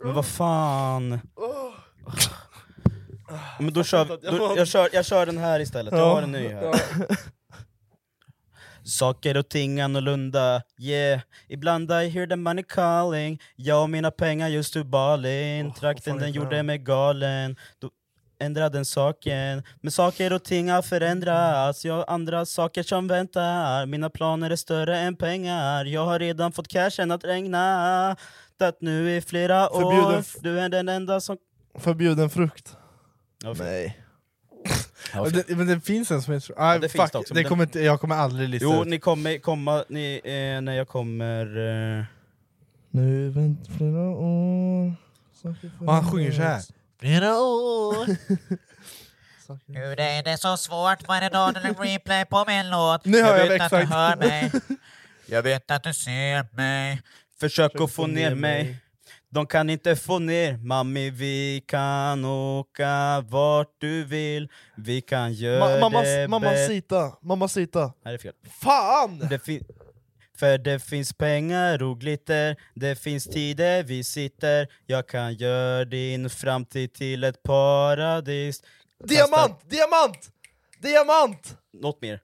E: Men vad fan. Men då kör, vi-
D: *laughs*
E: då, jag, kör, jag kör den här istället, jag har en ny här. Saker och ting annorlunda, yeah Ibland I hear the money calling Jag och mina pengar just to Balin
D: Oh,
E: Trakten den gjorde mig galen Då ändra den saken Men saker och ting har förändrats Jag har andra saker som väntar Mina planer är större än pengar Jag har redan fått cashen att regna Att nu i flera
D: Förbjuden
E: år
D: f-
E: Du är den enda som...
D: Förbjuden frukt.
E: Ja, för-
D: Nej.
E: ja, för-
C: Det, men det finns en som heter... Nej,
E: det
C: det
E: finns
C: fuck,
E: det också, men
C: det
E: den-
C: kommer inte, jag kommer aldrig lista
E: Jo,
C: ut.
E: ni kommer komma ni, eh, när jag kommer... Eh...
D: Nu vänt flera år... saker
C: Och han sjunger så här.
D: Flera år...
K: Hur är det så svårt varje dag när det replay på min låt?
C: Nu hör jag
K: vet att
C: exakt.
K: du hör
C: *laughs*
K: mig. Jag vet att du ser mig.
E: Försök att få ner mig De kan inte få ner Mami, vi kan åka vart du vill Vi kan göra
D: Ma mamma,
E: det
D: mamma
E: bäst-
D: Sita, mamma Sita.
E: Nej, det är fel.
D: Fan!
E: Det fin- för det finns pengar och glitter Det finns tider vi sitter Jag kan göra din framtid till ett paradis
D: Diamant, diamant! Diamant!
E: Något mer,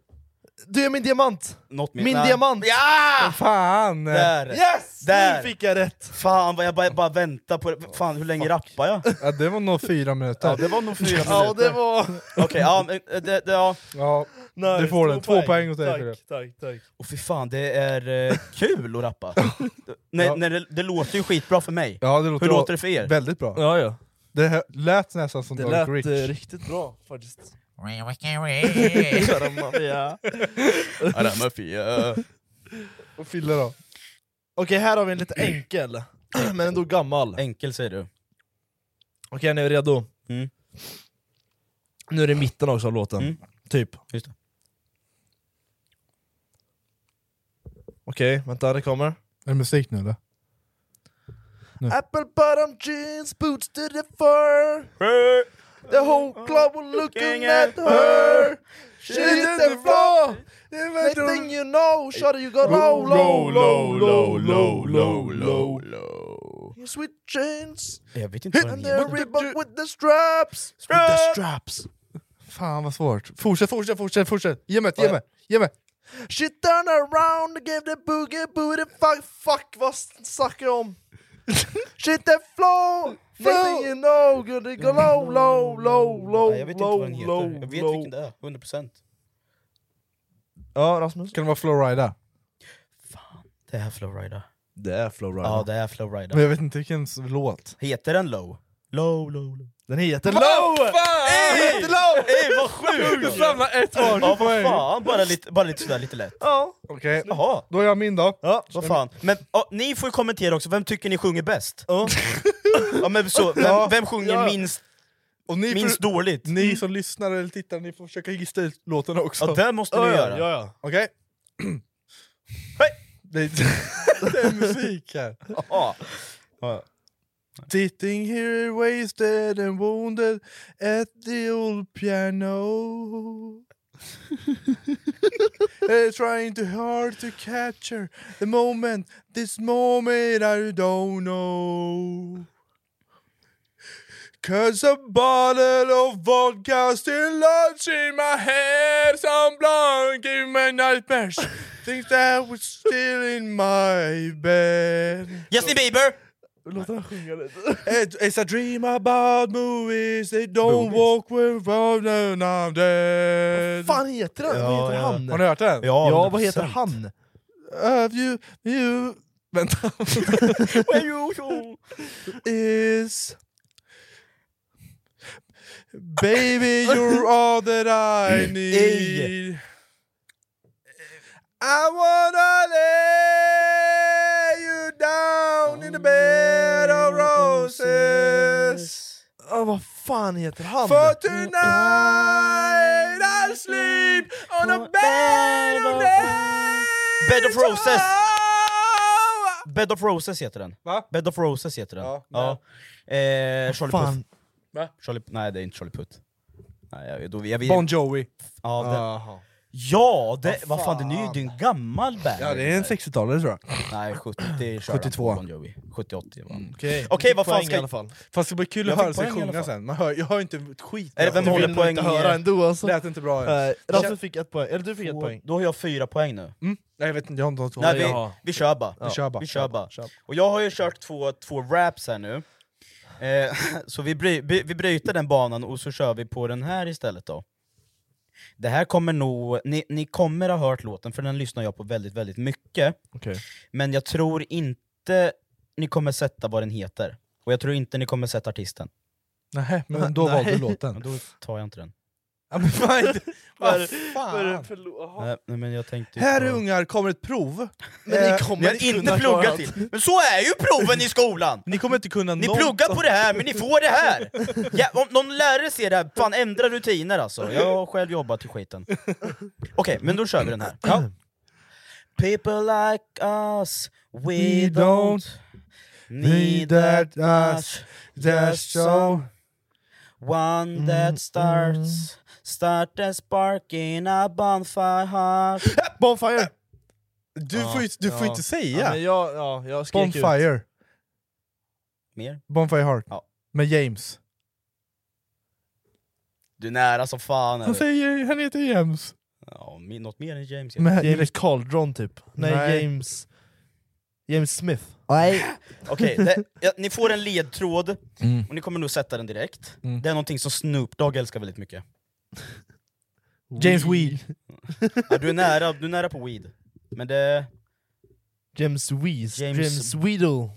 D: Du är min diamant!
E: något mer
D: Min
E: Nej.
D: diamant!
E: Ja!
C: Ah, Fan!
E: Där!
D: Yes!
E: Där.
D: Nu fick jag rätt!
E: Fan vad jag bara, bara väntar på det. Fan hur länge rappar jag?
C: Ja, det var nog fyra minuter.
E: Ja det var nog fyra minuter.
D: Ja, det var...
E: Okej, ja, men, eh, det, det, ja.
C: Ja. Du får den, två poäng åt dig.
E: Tack,
C: för det.
E: tack, tack. Och fy fan, det är eh, kul att rappa. Nej,
C: Ja.
E: nej, det, det låter ju skitbra för mig.
C: Ja, det låter
E: Hur
C: bra.
E: låter det för er?
C: Väldigt bra.
E: Ja, ja.
C: Det här lät nästan som
D: Det
C: Dark
D: lät
C: Rich.
D: eh, riktigt bra
E: *laughs*
D: faktiskt.
K: Maria.
E: Adam Mafia.
D: Och Fille då? Okej, här har vi en lite
E: Mm.
D: enkel, *clears throat* men ändå gammal.
E: Enkel säger du.
D: Okej, ni är redo? Nu är det mitten också av låten, typ.
E: Just det.
D: Okej, vänta det kommer.
C: Är det musik nu eller? Nu.
D: Apple bottom jeans, boots to the fur. The whole club were looking at her. She hit the floor. Next thing you know, shawty, you go low, low, low, low, low, low, low, low. Your sweet chains.
E: Jag vet inte vad
D: And
E: den
D: the
E: heter.
D: ribbon with the straps. With the straps.
C: Fan vad svårt. Fortsätt, fortsätt, fortsätt, fortsätt. Ge mig, ge mig, ge mig.
D: She turned around and gave the boogie booty fuck Fuck vad snackar jag *laughs* om? Shit the flow! Nothing you know, good to go low, low, low, low,
E: Nej, jag vet inte vad den
D: low,
E: heter.
D: low,
E: jag vet
D: low.
E: vilken det är, 100%.
D: Ja Rasmus?
C: Kan det vara Flowrida?
E: Det är Flowrider.
D: Det är Flowrider.
E: Ja, det är Flowrider.
C: Men jag vet inte vilken s- låt.
E: Heter den Low? Low, low, low.
D: Den heter Low! Den heter Low!
E: Ey, vad sjukt!
D: Du samlar ett var.
E: Ja, vad fan. Bara lite, bara lite sådär, lite lätt.
D: Ja.
C: Okej,
E: Jaha.
C: då är jag min då.
E: Ja, vad fan. Men ja, ni får ju kommentera också, vem tycker ni sjunger bäst? Ja, men så,
C: Ja.
E: vem, vem sjunger
C: Ja.
E: minst,
C: Och ni
E: minst
C: får-
E: dåligt?
C: Ni som lyssnar eller tittar, ni får försöka gissa ut låten också.
E: Ja, det måste ni göra.
C: Ja, ja. Okej.
E: Hej!
C: *clears throat* Det, är, *laughs* det är musik här.
E: Ja.
C: Sitting here wasted and wounded at the
E: *laughs*
C: old piano Uh, Trying too hard to capture the moment, this moment I don't know Cause a bottle of vodka still lodged in my head Some blonde gave me nightmares Things that was still in my bed
E: Justin Bieber!
D: Låt den sjunga lite.
C: It- It's a dream about movies They don't walk with when I'm dead
D: fan heter den? vad heter han?
C: Har ni hört den?
E: Ja,
D: Ja, vad heter han?
C: Have you, you... Vänta. Is... Baby you're all that I need I wanna lay you down in the bed of roses
D: Ja, vad fan heter han?
C: For tonight I sleep on a bed of roses.
E: Bed of Roses! Bed of Roses heter den.
C: Va?
E: Bed of Roses heter den.
C: Ja,
E: Ja. Eh, Charlie
D: Fan.
E: Puth. Charlie, nej, det är inte Charlie Puth. Nej, jag, då, jag, vet-
C: Bon Jovi.
E: ja, den,
C: Jaha.
E: ja, det, vad fan, den är ju det är en gammal band.
C: Ja, det är en 60-talare tror jag.
E: Nej, 70 kör
C: 72.
E: han på Bon Jovi. 70-80 var
C: Mm.
E: han.
D: Okej,
E: Okej, vad fan
D: poäng
E: ska
D: i alla fall.
C: Fast det var kul
E: Jag
C: att
E: fick
C: höra sig
E: poäng i alla
C: sjunga
E: fall.
C: sen. Man hör, jag hör inte ett skit.
E: Är det
C: Jag
E: vem håller
C: vill
E: poäng
C: inte
E: i-
C: höra.
D: Höra ändå alltså.
C: Lät inte bra
D: Nej,
C: ens.
D: Rasmus fick ett poäng, eller du fick ett poäng.
E: Då har jag fyra poäng nu.
C: Mm? Nej, jag vet inte, jag har inte hållit
E: Nej, vi,
D: jaha.
E: vi kör bara.
C: Vi kör bara.
E: Vi kör bara.
D: Kör bara.
E: Och jag har ju kört två, två raps här nu. Eh, *laughs* så vi, bry, vi, vi bryter den banan och så kör vi på den här istället då. Det här kommer nog... Ni, ni kommer ha hört låten, för den lyssnar jag på väldigt, väldigt mycket.
D: Okej.
E: Men jag tror inte ni kommer sätta vad den heter. Och jag tror inte ni kommer sätta artisten.
C: Nej, Äh, men då
D: Nej.
C: valde du
E: Men
D: *laughs*
C: låten.
E: då tar jag inte den. Ah,
C: Ja, men vad är det-
D: Vad är
C: Vad
D: det- vad är det
C: fan?
D: för lo- Jaha.
E: Nej, nej, men jag tänkte ju
C: Här
E: på-
C: ungar kommer ett prov.
D: Men
C: Eh,
D: ni kommer
E: Ni har inte
D: kunna klara
E: pluggat
D: allt.
E: till! Men så är ju proven i skolan!
C: Ni kommer inte kunna
E: Ni
C: någon-
E: pluggar på det här, men ni får det *laughs* här! Ja, om någon lärare ser det här, fan ändra rutiner alltså. Jag har själv jobbat i skiten. Okej, men då kör vi den här. Ja. People like us, we, don't need that us, just so One that starts, start a spark in a bonfire
D: Bonfire!
C: Äh, Du får, ju, du
D: ja.
C: får inte
D: Ja,
C: säga.
D: men jag, ja, jag skrek ut.
C: Bonfire.
E: Mer?
C: Bonfire Heart.
E: Ja.
C: Med James.
E: Du är nära som fan. är
C: Han
E: du.
C: säger, han heter James.
E: Ja, mi- något mer än James.
C: Men,
D: James Caldron typ. Nej,
C: Nej.
D: James... James Smith.
C: nej.
E: Okej, det- ja, ni får en ledtråd, och ni kommer nog sätta den direkt. Det är någonting som Snoop Dogg älskar väldigt mycket.
C: James Weed.
E: Ja, du, är nära, du är nära på weed. Men det...
D: James Weez.
E: James-
D: James, Weedle.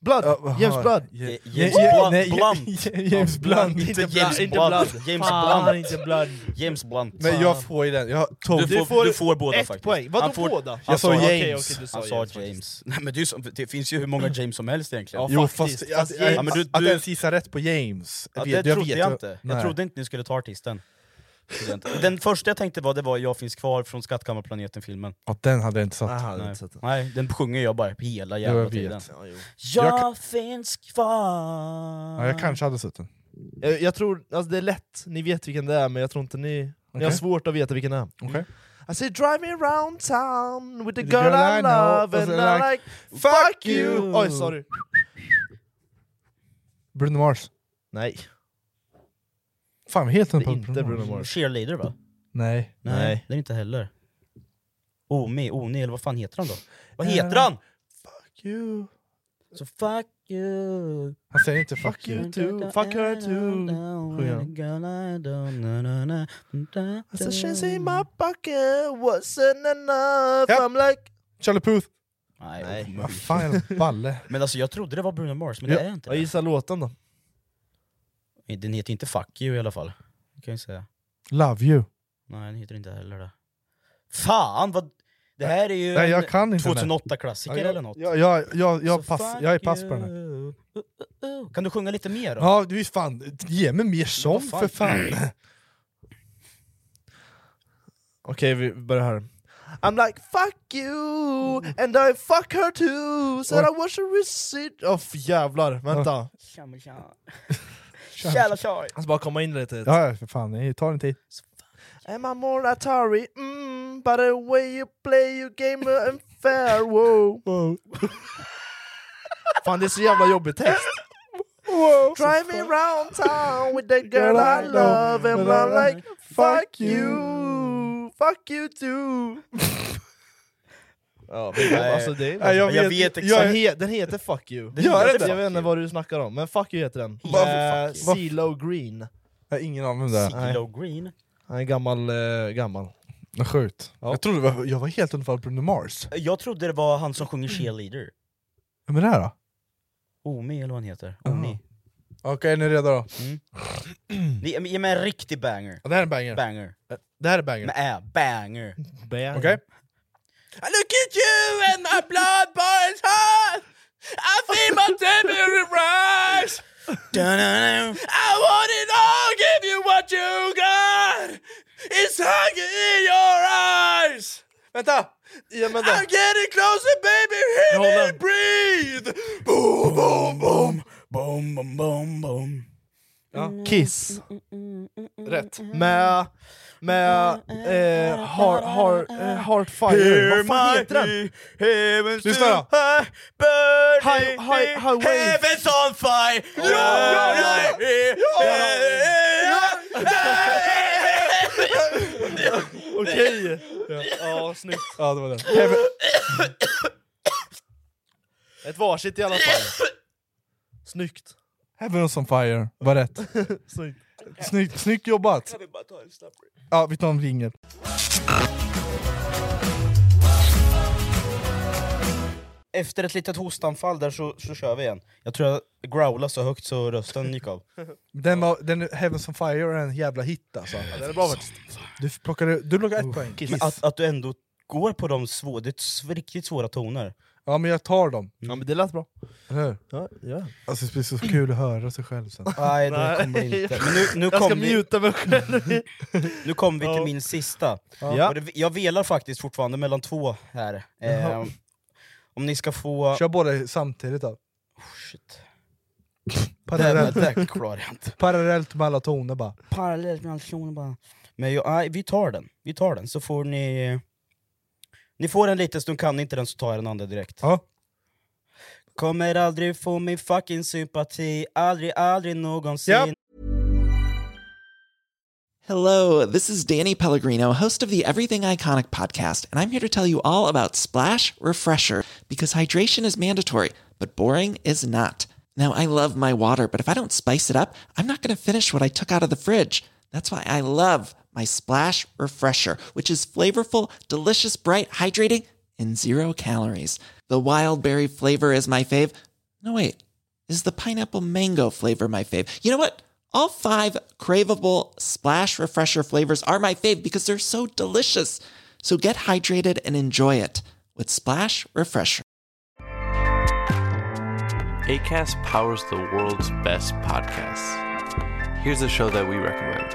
D: Blood. James Blood.
E: Ja- James Blunt. Blunt.
C: *laughs* James Blunt.
E: Inte
C: Inte
E: James
C: Blunt, inte
E: Blunt.
C: Blunt.
E: James
C: Fan,
E: Blunt.
C: inte Blunt.
E: James Blunt.
C: Men jag får ju den. Jag tog
E: Du får, du får båda
D: ett
E: faktiskt.
D: poäng. Vadå
E: Han får-
D: båda?
E: han
C: Jag sa
E: okej,
C: James.
E: okej, du sa
D: Han sa
E: James. Mm. Nej men det, är ju så, det finns ju hur många James som helst egentligen.
C: jo fast, att,
E: ja, men du,
C: att
E: du,
C: ens gissa rätt på James,
E: ja,
C: jag
E: det
C: vet-
E: trodde jag
C: ju-
E: inte. Jag
C: Nej.
E: trodde inte ni skulle ta artisten. Den första jag tänkte var, det var Jag finns kvar från Skattkammarplaneten-filmen.
C: Ja, den hade jag inte
D: Ah,
C: satt.
E: Nej. Nej, den sjunger jag bara hela
C: Jag
E: jävla
C: vet.
E: tiden.
C: Ja, jo.
E: Jag,
D: Jag
E: finns kvar...
C: Ja, jag kanske hade suttit.
E: Mm.
D: Jag, jag tror, alltså det är lätt, ni vet vilken det är, men jag tror inte ni... Ni har
C: Okej.
D: svårt att veta vilken det är.
C: Okej.
D: I say drive me around town with the
C: The
D: girl, I, love and
C: och så
D: I like...
C: like,
D: Fuck you! Oj, sorry.
C: Bruno Mars.
D: Nej.
C: Fan, vad heter den på
D: inte Bruno Mars.
E: Cheerleader va?
C: Nej.
E: Nej,
D: Nej.
E: det är inte heller. Omi, Oni, eller vad fan heter han då? Vad
C: Eh,
E: heter han?
D: Fuck you.
E: Så fuck you
C: Han säger inte fuck,
D: Fuck you too, fuck her too. Sjunger han. So
E: Alltså,
D: she's in my pocket, wasn't enough.
C: Ja.
D: I'm like...
C: Charlie Puth.
E: Nej,
C: Vad fan, jävla balle.
E: Men alltså jag trodde det var Bruno Mars, men det är inte
D: Jag gissar låten då.
E: det. Den heter inte fuck you i alla fall. Det kan jag säga.
C: Love you.
E: Nej, den heter inte heller det. Fan vad... Det här är ju
C: Nej, jag
E: en
C: kan inte den där.
E: 2008-klassiker
C: Ja, jag-
E: eller något.
C: Jag, jag, jag, jag,
E: Så
C: pass,
E: fuck
C: jag är pass på den här.
E: you. Uh, uh, uh. Kan du sjunga lite mer då?
C: Ja, du är fan, ge mig mer sång
E: fan?
C: för fan. *clears throat*
D: Okej, vi börjar här. I'm like fuck you and I fuck her too Said I was a receipt... Åh jävlar, vänta.
E: Tjamma, tja. Tjalla tjoj!
D: Jag ska bara komma in lite.
C: Ja, ja, för fan, det tar en tid.
D: Am I more Atari? Mm, by the way you play your game uh, unfair, wow. *laughs* Fan det är så jävla jobbig text. Drive me round town with the girl I love and I'm like fuck you, fuck you too. *laughs* ja, men,
E: Nej.
D: alltså det är...
C: Nej, jag
E: Jag
C: vet-
E: vet exakt.
C: jag
D: Den, he, den heter Fuck You.
C: Den Gör heter den det?
D: jag vet inte vad du snackar om, men Fuck You heter den.
C: Varför
D: Eh,
C: Fuck You?
D: CeeLo Green.
C: Jag har ingen aning om det är.
D: Nej.
E: Low green.
D: Han är gammal, eh, gammal.
C: Men Sjukt. Jag trodde det var, jag var helt undfall Bruno Mars.
E: Jag trodde det var han som sjunger cheerleader.
C: Ja, Men det här då?
E: Omi eller vad han heter. Omi.
C: Okej, är ni redo då?
E: Det är ge mig en riktig banger.
C: Ja, det här är en Mm. banger.
E: Banger.
C: Det här är banger.
E: Med ä, banger.
D: Bär.
C: Okej?
E: I look at you and my blood boils hot! I feel my temperature rise! Da-na-na. I want it all, give you what you got! It's hunger in your eyes!
C: Vänta! Ja, men då.
E: I'm getting closer baby, hear
C: håller
E: me
C: den.
E: breathe! Boom, boom, boom! Boom, boom, boom, boom.
D: Kiss.
C: Rätt.
E: Mm,
D: Med, med eh, heart, heart, eh, Heartfire.
E: Hear
D: Vad fan
E: my
D: heter den?
E: he- heavens
C: Lyssna
E: to
C: då.
E: high burning
D: Hi- hi- highway.
E: heavens on fire.
D: ja, ja. Okej! Ja, ja, snyggt.
C: Ja, det var den. Heaven,
D: Ett varsitt i alla fall. Snyggt.
C: Heaven on fire var rätt.
D: Snyggt.
C: Snyggt, snyggt jobbat! Ja, vi tar en ringel.
E: Efter ett litet hostanfall där så, så kör vi igen. Jag tror jag growlade så högt så rösten gick *laughs* av.
C: Den, var, den Heavens on fire är en jävla hit alltså.
D: Den är bra faktiskt.
C: Du plockade, du plockade ett poäng.
E: Men att, att du ändå går på de svå, det är sv- riktigt svåra toner.
C: Ja men jag tar dem,
D: Ja men det lät bra.
C: eller hur?
D: Ja, ja.
C: Alltså det blir så kul att höra sig själv sen.
E: Nej, det
D: Nej.
E: kommer det
D: *laughs*
E: inte. Men nu, nu
D: Jag ska
E: kom vi,
D: muta mig själv.
E: nu kom vi till
D: Ja.
E: min sista.
D: Ja.
E: Och det, jag velar faktiskt fortfarande mellan två här. Eh, om ni ska få...
C: Kör båda samtidigt då.
E: Shit.
C: Parallellt,
E: Det, det klarar jag inte.
C: parallellt med alla toner bara.
E: Parallellt med allsång bara. Men jag, nej, vi tar den. Vi tar den, så får ni... Ni får en liten stund, kan ni inte den så tar jag den andra direkt.
C: Ja.
E: Kommer aldrig få min fucking sympati, aldrig, aldrig någonsin.
C: Japp.
I: Hello, this is Danny Pellegrino, host of the Everything Iconic podcast, and I'm here to tell you all about Splash Refresher because hydration is mandatory, but boring is not. Now, I love my water, but if I don't spice it up, I'm not going to finish what I took out of the fridge. That's why I love my Splash Refresher, which is flavorful, delicious, bright, hydrating, and zero calories. The wild berry flavor is my fave. No, wait, is the pineapple mango flavor my fave? You know what? All five craveable Splash Refresher flavors are my fave because they're so delicious. So get hydrated and enjoy it with Splash Refresher.
L: ACAST powers the world's best podcasts. Here's a show that we recommend.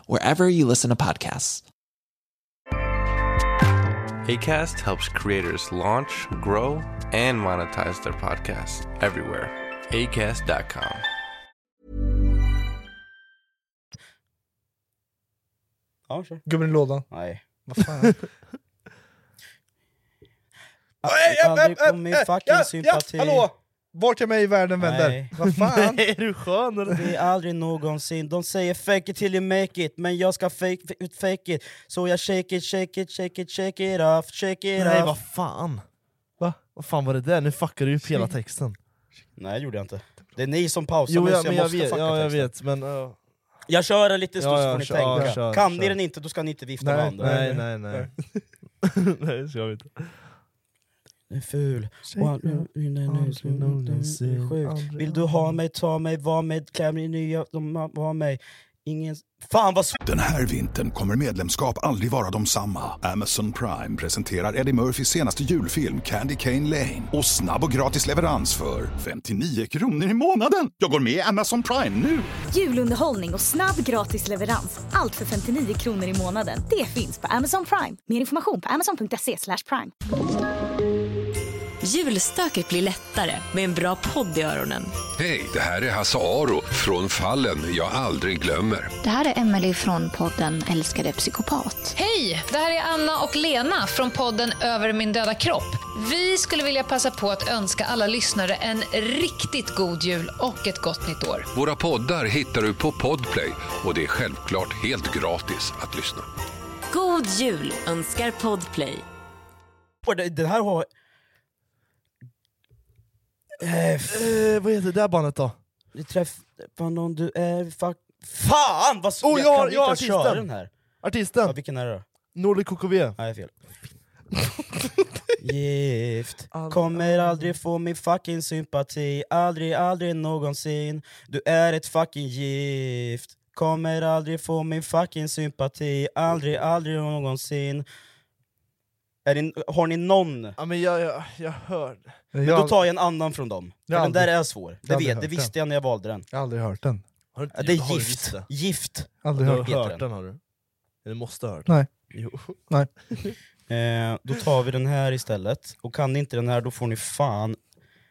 I: wherever you listen to podcasts.
L: ACAST helps creators launch, grow, and monetize their podcasts everywhere. ACAST.com.
E: Ja, kör.
C: Gubben i lådan.
E: Nej.
C: Vad fan.
E: Aldrig på min fucking sympati.
C: Hallå! Vart är mig i världen vänder.
E: Nej. *laughs*
D: *laughs*
C: Vad fan?
E: är du skön eller? Det är aldrig någonsin, de säger fake it till you make it Men jag ska fake, fake it, så jag shake it, shake it, shake it, shake it off, shake it
D: Nej,
E: off
D: vad fan? Va? Vad fan var det där? Nu fuckar du ju upp hela texten.
E: Nej det gjorde jag inte Det är ni som pausar
D: Jo,
E: mig
D: ja,
E: så jag
D: men jag
E: måste
D: vet,
E: fucka
D: ja, jag
E: texten.
D: vet, men... eh,
E: Jag kör en liten stund
D: Ja,
E: så
D: ja,
E: får ni
D: kör,
E: tänka,
D: kör,
E: kan ni
D: kör.
E: den inte då ska ni inte vifta med
D: nej,
E: handen
D: nej, nej, nej.
E: *laughs*
D: nej, så jag vet inte.
E: Den är ful. One- Det är sjukt. Vill du ha mig, ta mig, var mig, klä mig i nya, de har mig Ingen... Fan vad
A: Den här vintern kommer medlemskap aldrig vara de samma. Amazon Prime presenterar Eddie Murphys senaste julfilm Candy Cane Lane. Och snabb och gratis leverans för 59 kronor i månaden. Jag går med i Amazon Prime nu!
B: Julunderhållning och snabb gratis leverans. Allt för 59 kronor i månaden. Det finns på Amazon Prime. Mer information på amazon.se slash prime.
M: Julstöket blir lättare med en bra podd i öronen.
N: Hej, det här är Hasse Aro från Fallen jag aldrig glömmer.
O: Det här är Emelie från podden Älskade psykopat.
P: Hej! Det här är Anna och Lena från podden Över min döda kropp. Vi skulle vilja passa på att önska alla lyssnare en riktigt god jul och ett gott nytt år.
N: Våra poddar hittar du på Podplay och det är självklart helt gratis att lyssna.
M: God jul önskar Podplay.
E: svårt, det- det här har... Eh,
D: vad heter det där bandet då?
E: Du träffar någon du är... Fuck... Fan vad svårt!
D: Oh, jag har-
E: kan
D: jag har
E: inte ens köra
D: artisten.
E: den här.
D: Artisten!
E: Ja, vilken är det då?
D: Nordic KKV.
E: Nej,
D: *laughs*
E: fel. Gift Kommer aldrig få min fucking sympati Aldrig, aldrig någonsin Du är ett fucking gift Kommer aldrig få min fucking sympati Aldrig, aldrig någonsin är det, Har ni någon?
D: Ja, men jag, jag, jag hörde...
E: Men då tar jag en annan från dem.
D: Jag har
E: För den där
D: aldrig-
E: är svår.
D: jag
E: Det,
D: har aldrig
E: vet, det
D: hört
E: visste jag när jag valde den.
C: Jag har aldrig hört den.
D: Har du
E: Ja, det är
D: har du
E: gift.
D: visst det?
E: Gift.
C: Aldrig
D: Du
C: hört.
D: har
E: Heter
D: hört
E: den.
D: den har du? Eller måste ha hört
C: Nej.
D: den? Jo.
C: Nej.
E: Eh, då tar vi den här istället. Och kan ni inte den här, då får ni fan...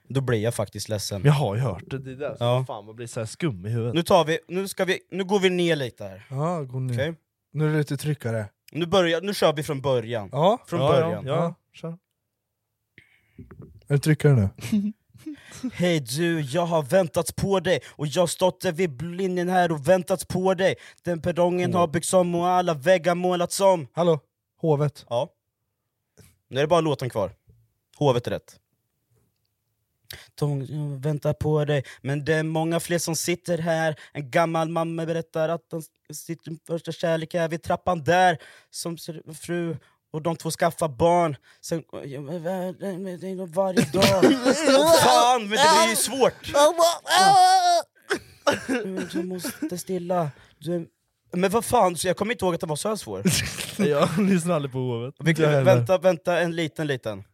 E: Då blir jag faktiskt ledsen.
D: Men jag har ju hört det, det är där som
E: Ja.
D: fan man blir så här skum i huvudet.
E: Nu tar vi, nu ska vi, nu går vi ner lite här.
C: Ja, gå ner.
E: Okej.
C: Nu är det lite tryckare.
E: Nu börjar, nu kör vi från början.
C: Ja.
E: Från
C: Ja, ja,
E: början.
C: ja. Är det tryckare nu?
E: Hej du, jag har väntat på dig och jag har stått där vid linjen här och väntat på dig Den perrongen har byggts om och alla väggar målats om
C: Hallå? Hovet?
E: Ja Nu är det bara låten kvar Hovet är rätt Tång, jag väntar på dig, men det är många fler som sitter här En gammal mamma berättar att hon sitter första kärlek är vid trappan där Som ser- fru och de två skaffar barn Sen, varje dag Fan, men det blir ju svårt! Du måste stilla. Du... Men vad fan, så jag kommer inte ihåg att det var så här svår.
D: jag lyssnar aldrig på hovet.
E: Vi kan, vänta, vänta, en liten, liten.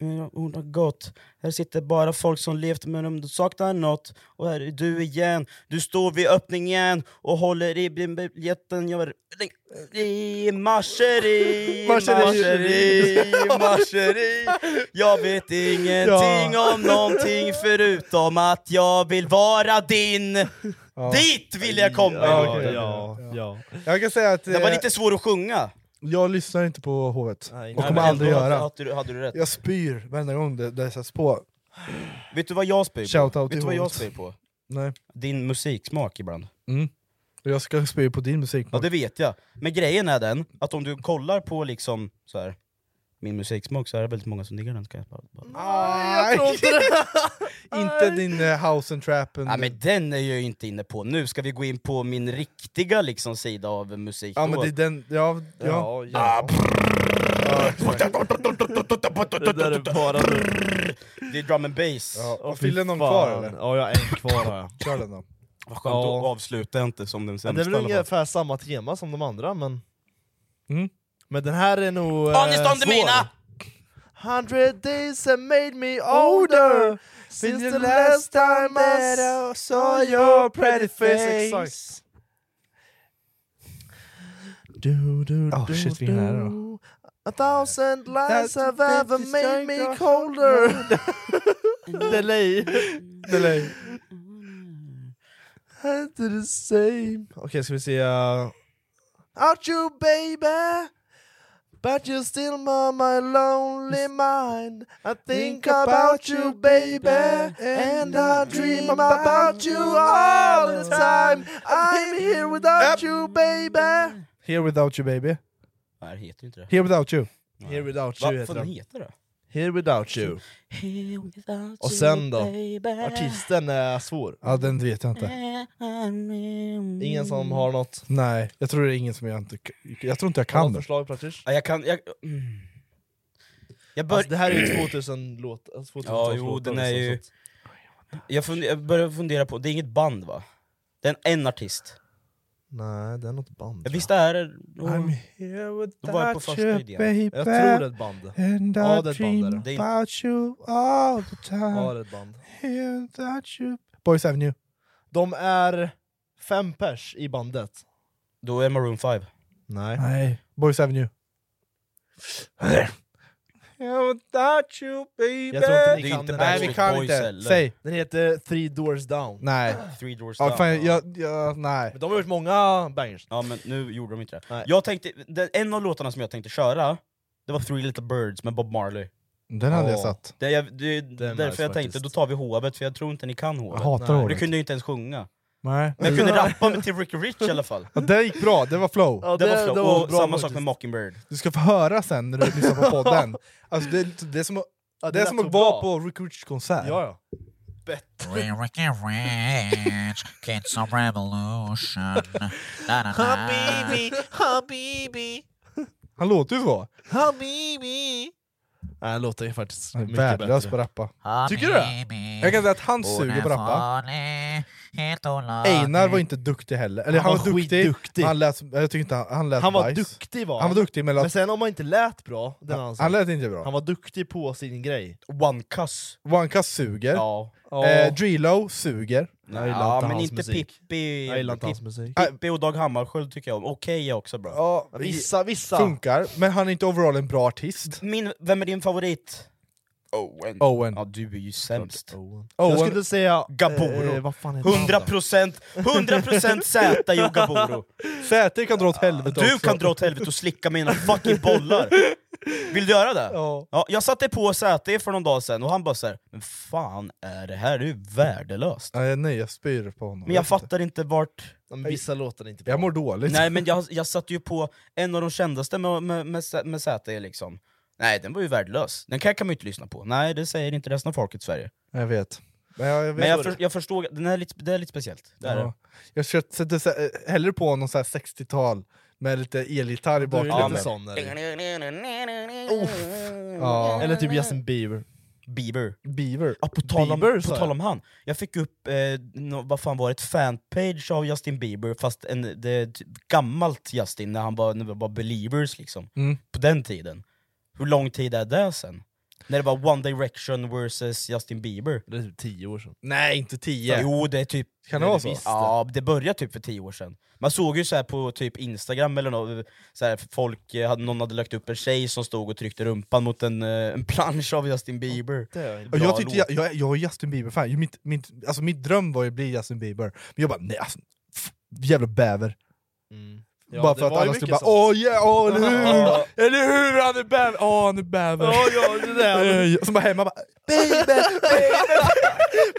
E: Mm, Ja, Hon har gått. Här sitter bara folk som levt men de saknar något. Och här är du igen. Du står vid öppningen och håller i biljetten. Jag var... I marscheri,
C: *laughs*
E: marscheri, marscheri. Jag vet ingenting
D: Ja.
E: om någonting förutom att jag vill vara din. Dit vill jag komma!
C: Ja, okej.
E: ja, ja.
C: Jag kan säga att...
E: Det var
C: eh,
E: lite svår att sjunga.
C: Jag lyssnar inte på hovet,
E: Nej,
C: och
E: nej,
C: kommer
E: men
C: aldrig
E: ändå
C: göra.
E: hade du- hade du rätt.
C: Jag spyr varenda gång det, det sätts på.
E: Vet du vad jag spyr på?
C: Shoutout
E: Vet
C: till
E: du vad jag
C: Hovet.
E: spyr på?
C: Nej.
E: Din musiksmak ibland.
C: Mm. Och Jag ska spy på din musik.
E: Ja det vet jag. Men grejen är den, att om du kollar på liksom så här min musiksmak så är det väldigt många som diggar den. Ska jag bara, bara.
C: jag tror inte det! *laughs* inte din eh, house and trap. and-
E: Ja, men den är jag ju inte inne på nu, ska vi gå in på min riktiga liksom, sida av musik?
C: Ja, men det är den... Ja, ja.
E: ja. Det där är bara Det är drum and bass.
C: Ja,
E: Åh,
C: och fyller
E: fy
C: någon
E: fan.
C: kvar, eller?
D: Ja, jag har en kvar har jag.
C: Kör den då.
E: Vad skönt,
D: Ja.
E: då avslutar jag inte som den
D: Ja, det
E: sämsta
D: är väl
E: i alla fall.
D: ungefär samma tema som de andra, men...
C: Mm.
D: Men den här är nog... eh,
E: Honest on the
D: svår.
E: mina!
D: 100 days have made me older Since the last time that I saw your pretty face
C: Du, du, oh shit, vilken är det då?
D: A thousand lies have ever made me colder *laughs* Delay
C: Delay
D: Inte the same Okej, ska vi se... Uh... Out you baby But you still on my lonely mind I think about you baby And I dream about you all the time I'm here without you baby
C: Here without you baby.
E: Nej det heter ju inte det.
C: Here without you.
D: Here without
E: Vad
D: you
E: får
D: heter
E: den
D: den.
E: heta då?
D: Here without you. Och sen då? Artisten är svår.
C: Ja, den vet jag inte.
D: Ingen som
E: Mm.
D: har något
C: Nej, jag tror det är ingen som jag inte... Jag tror inte jag
D: har
C: kan
D: något
C: den.
D: förslag praktiskt.
E: Ja, jag kan... Jag, mm. jag bör...
D: Alltså, det här är ju 2000 låt, alltså, 2000
E: Ja, jo, den
D: liksom,
E: är ju... Jag, funde, jag börjar fundera på, det är inget band va? Det är en, en artist.
D: Nej, det är något band.
E: Jag
D: tror
E: visste det här är...
C: I'm here
E: Då var jag på
C: without
E: första
C: you
E: idén.
C: baby.
D: Jag tror det är ett band.
C: And
D: Ja, det
C: I
D: är ett band, är
C: dream
D: det.
E: Det är inte-
C: about you all the time.
D: Ja, det är ett band.
C: Here without you... Boys Avenue.
D: De är fem pers i bandet.
E: Då är Maroon 5.
D: Nej.
C: Nej, Boys Avenue. Here without you baby.
D: Jag tror inte
E: Det
D: ni
E: är inte
D: kan den här.
C: Nej, vi
E: Backstreet
C: kan
E: Boys
C: inte.
E: heller.
C: Säg.
D: Den heter Three Doors Down.
C: Nej.
E: Three Doors
C: Ja,
E: Down.
C: fan, jag, jag, nej.
D: Men de har gjort många bangers.
E: Ja men nu gjorde de inte det.
D: Nej.
E: Jag tänkte, den, en av låtarna som jag tänkte köra, det var Three Little Birds med Bob Marley.
C: Den hade jag
D: Ja.
C: satt.
E: Det, jag, det är därför
D: nice
E: jag tänkte,
D: faktiskt.
E: då tar vi hovet för jag tror inte ni kan hovet.
C: Jag hatar
D: Nej.
E: Och det
C: håret.
E: kunde jag ju inte ens sjunga.
C: Nej.
E: Men jag kunde rappa med till Ricky Rich i alla fall.
C: Ja, det gick bra, det var flow.
D: Ja,
E: Det, var flow. Och
D: bra
E: samma sak
D: faktiskt.
E: med Mockingbird.
C: Du ska få höra sen när du lyssnar *laughs* på podden. Alltså det, det är som att,
D: Ja,
C: det är
D: lät
C: som att
D: så
C: vara
D: bra.
C: på Rick Rich konsert.
D: Ja, ja.
K: Ricky Rich, Kids of Revolution. Na, na, na.
D: Habibi,
C: Han låter ju så.
D: habibi. Nej, det låter ju faktiskt
C: Han är
D: mycket
C: värdelös
D: bättre.
C: på att rappa.
D: Tycker du det?
K: Habibi,
C: Jag kan säga att han
K: hon
C: suger
K: är
C: på att rappa.
K: farlig, helt olaglig.
C: Einar var inte duktig heller. Eller han,
D: Han
C: var
D: var
C: duktig,
D: skitduktig.
C: Han lät, som- jag tyckte inte han, han lät
D: Han var
C: bajs.
D: duktig va?
C: Han var duktig men,
D: Men
C: lät,
D: sen om man inte lät bra, den
C: han,
D: han, han,
C: lät inte bra.
D: han var duktig på sin grej.
E: One Cuss.
C: One Cuss suger.
E: Ja.
C: Eh, Drilo suger.
D: Jag gillar
E: ja
D: inte
E: men
D: hans
E: inte
D: musik.
E: Pippi.
D: jag gillar inte hans
E: Pip-
D: musik.
E: Pippi och Dag Hammarskjöld tycker jag om. Okej är också bra.
C: Ja,
D: Vissa, vissa.
C: Funkar, men han är inte overall en bra artist.
E: Min, vem är din favorit? Owen.
C: Owen.
E: Ja du är ju sämst.
D: Owen.
C: Owen.
D: Jag skulle säga...
E: Gaboro.
D: Eh, vad fan heter han då?
E: 100% 100% Z i Ogaboro.
C: Säte kan dra åt helvete
E: Du
C: också.
E: kan dra åt helvete och slicka mina fucking bollar! Vill du göra det?
C: Ja.
E: jag satte på ZT för någon dag sedan och han bara såhär Men fan är det här? Det är ju värdelöst!
C: Nej, nej, jag spyr på honom.
E: Men jag fattar inte vart...
D: Ja, men Vissa låtar är inte bra.
C: Jag mår dåligt.
E: Nej men jag, jag satte ju på en av de kändaste med, med, med, Z- med ZT liksom Nej den var ju värdelös, den kan, kan man ju inte lyssna på Nej det säger inte resten av folket i Sverige
C: Jag vet. Men jag, jag, vet
E: Men jag,
C: vad
E: för,
C: det-
E: jag förstår, den är lite, det är lite speciellt det är
C: ja.
E: det.
C: jag ska sätta så här- hellre på någon så här 60-tal med lite
D: Du är
C: elgitarr i
D: lite
C: bakgrunden.
E: Ja, men-
D: sån. Eller?
C: Ja.
D: eller typ Justin Bieber.
E: Bieber
C: Beaver.
E: Ja, på tal, om,
D: Bieber, sa
E: på
D: jag.
E: tal om han, jag fick upp eh, nå- vad fan var det, ett fanpage av Justin Bieber, fast en, det, är ett gammalt Justin när han var, när det var believers liksom,
C: Mm.
E: på den tiden. Hur lång tid är det sen? När det var One Direction versus Justin Bieber.
D: Det är typ tio år sedan.
C: Nej, inte tio.
E: Jo, det är typ...
C: Kan det vara så?
E: Visst, Ja, det började typ för tio år sedan. Man såg ju så här på typ Instagram eller något, så här, folk, eh, hade- någon hade lagt upp en tjej som stod och tryckte rumpan mot en, eh, en plansch av Justin Bieber.
C: Och
E: Bra
C: jag, tyckte,
E: låt.
C: jag, jag, jag är Justin Bieber-fan, Ju mitt, mitt, alltså mitt dröm var ju att bli Justin Bieber, men jag bara nej alltså, pff, jävla bäver.
D: Ja,
C: bara
D: det
C: för att
D: var ju
C: alla
D: mycket
C: skulle bara
D: sånt.
C: åh yeah, åh eller
D: Ja. *laughs*
C: hur! eller hur han är bäver! Åh han är bäver!
D: Ja, ja, det där.
C: *laughs* Eh, Som bara hemma bara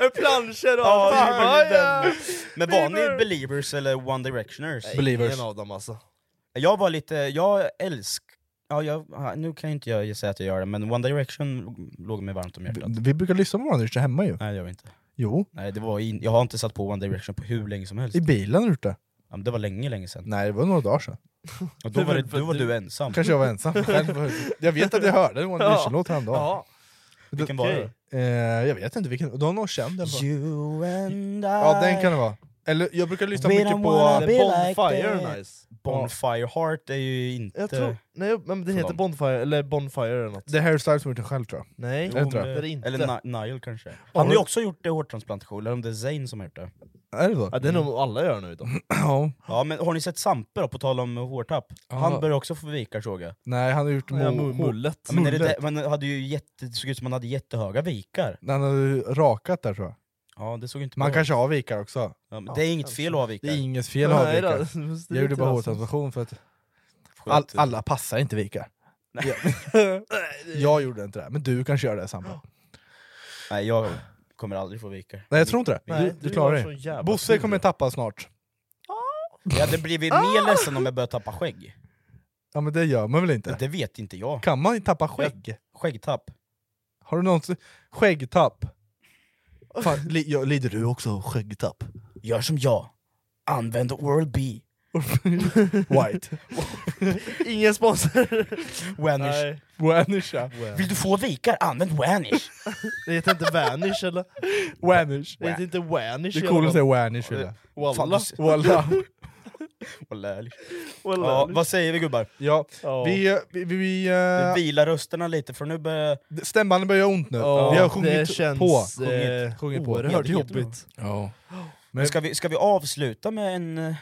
E: Med planscher och
D: allt.
E: ja,
D: Fan,
E: ja.
D: ja.
E: Men var ni believers eller one directioners?
D: Nej, Believers. ingen av dem, alltså.
E: Jag var lite, jag älsk... Ja, jag, ja, nu kan ju inte jag säga att jag gör det, men One Direction låg mig varmt om hjärtat.
C: Vi brukar lyssna på varandra just hemma ju.
E: Nej det gör vi inte.
C: Jo,
E: Nej, det var in, jag har inte satt på One Direction på hur länge som helst.
C: i bilen har du gjort det.
E: Ja, men det var länge, länge sedan.
C: Nej det var några dagar sedan.
E: Och då var, det, då var du ensam.
C: Kanske jag var ensam. Själv. Jag vet att jag hörde en One
E: Ja.
C: Direction-låt häromdagen.
E: Ja. Vilken var det?
C: Eh, jag vet inte vilken, det var någon känd i alla fall.
E: You and I.
C: Ja den kan det vara. Eller jag brukar lyssna mycket på...
D: Bonfire är nice.
E: Bonfire Heart är ju inte...
D: Jag tror, nej, jag- men det
E: Från
D: heter
E: dem.
D: Bonfire, eller Bonfire eller något.
C: Det är Harry Styles som gjort den själv tror jag.
D: Nej,
C: det tror
D: det är
C: jag.
D: det inte.
E: Eller Ni- Nile kanske.
D: Har
E: Han har ju
D: du-
E: också gjort det hårtransplantation, eller om det är Zayn som har gjort det.
C: Är det så?
D: Ja, det är nog alla gör nu
E: Mm.
D: då.
C: Ja.
E: Ja men har ni sett Sampe då, på tal om hårtapp?
C: Ja.
E: Han börjar också få vikar såg jag.
C: Nej han har gjort
D: Ja,
C: mo-
D: mu- mullet.
E: Ja, men är det det, man hade ju jätte, det såg ut som han hade jättehöga vikar.
C: Han har ju rakat där tror jag.
E: Ja det såg inte
C: Man
E: bra
C: kanske har vikar också.
E: Ja, men det är inget fel att ha vikar.
C: Det är inget fel att ha
D: Nej då,
C: vikar.
D: det måste
C: Jag gjorde
D: inte
C: bara
D: vara
C: hårtransplantation för att all, alla passar inte vikar.
E: Nej.
C: Ja. jag gjorde inte det, men du kanske gör det samma.
E: Nej jag kommer aldrig få vikar.
C: Nej jag tror inte det.
E: Nej,
C: du, du
E: du
C: klarar
E: var så
C: det.
E: jävla
C: Bosse
E: sur.
C: kommer tappa snart.
E: Jag hade blivit
C: Ah!
E: mer ledsen om jag började tappa skägg.
C: Ja men det gör man väl inte?
E: Det vet inte jag.
C: Kan man tappa skägg?
E: Skäggtapp.
C: Har du någonsin... Skäggtapp? Fan, li, ja, lider du också av skäggtapp?
E: Gör som jag. Använd Oral B.
C: White.
D: Ingen sponsor.
E: Vanish.
D: Nej.
C: Vanish ja.
E: Vill du få vikar? Använd Vanish.
D: Det heter inte Vanish eller?
C: Vanish.
D: Det heter inte Vanish
C: Det är
D: i
C: coolt
D: alla
C: att säga
D: fall.
C: vanish. vill
E: Fan,
C: jag.
D: Walla.
E: du ser-
C: Voila.
E: Wallahi.
D: Walla.
E: Ja, vad säger vi gubbar?
C: Ja,
D: Ja.
C: vi... vi, vi, vi eh,
E: Vila rösterna lite för nu börjar...
C: Stämbanden börjar göra ont nu.
D: Ja,
C: vi har
D: det
C: sjungit
D: känns,
C: på.
D: eh,
C: Sjungit på.
D: oerhört
E: Jätte- jättebra.
D: jobbigt.
C: Ja.
E: Men ska vi, ska vi avsluta med en, eh,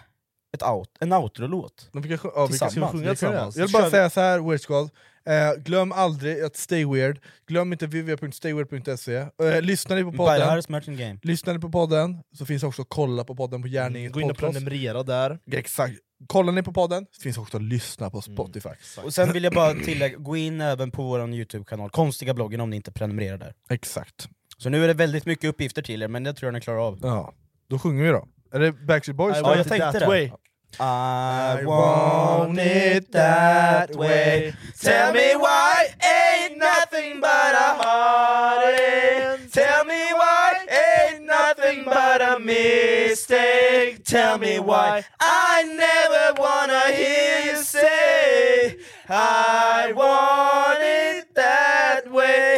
E: ett out, en outro-låt?
C: Men vi kan, sj- ja, vi kan
E: Tillsammans.
C: sjunga
D: Det kan vi göra.
C: Jag vill
E: Kör
C: bara
E: vi.
C: säga så här, Weird Squad. Eh, glöm aldrig att stay weird. Glöm inte www.stayweird.se. Eh, lyssnar ni på
E: By the
C: podden,
E: Harris Merchant Game.
C: lyssnar ni på podden så finns också kolla på podden på
D: Mm,
C: Gärningens
D: Gå in och
C: podcast.
D: prenumerera där.
C: Exakt. Kollar ni på podden så finns också att lyssna på
D: Mm.
C: Spotify.
E: Och sen vill jag bara tillägga, gå in även på vår YouTube-kanal, Konstiga bloggen, om ni inte prenumererar där.
C: Exakt.
E: Så nu är det väldigt mycket uppgifter till er, men det tror jag ni klarar av.
C: Ja. Då sjunger vi då. Är det Backstreet Boys?
D: I
E: Ja,
D: want
E: jag
D: it
E: tänkte
D: that
E: det.
D: way.
E: I want it that way Tell me why ain't nothing but a heartache Tell me why ain't nothing but a mistake Tell me why I never wanna hear you say I want it that way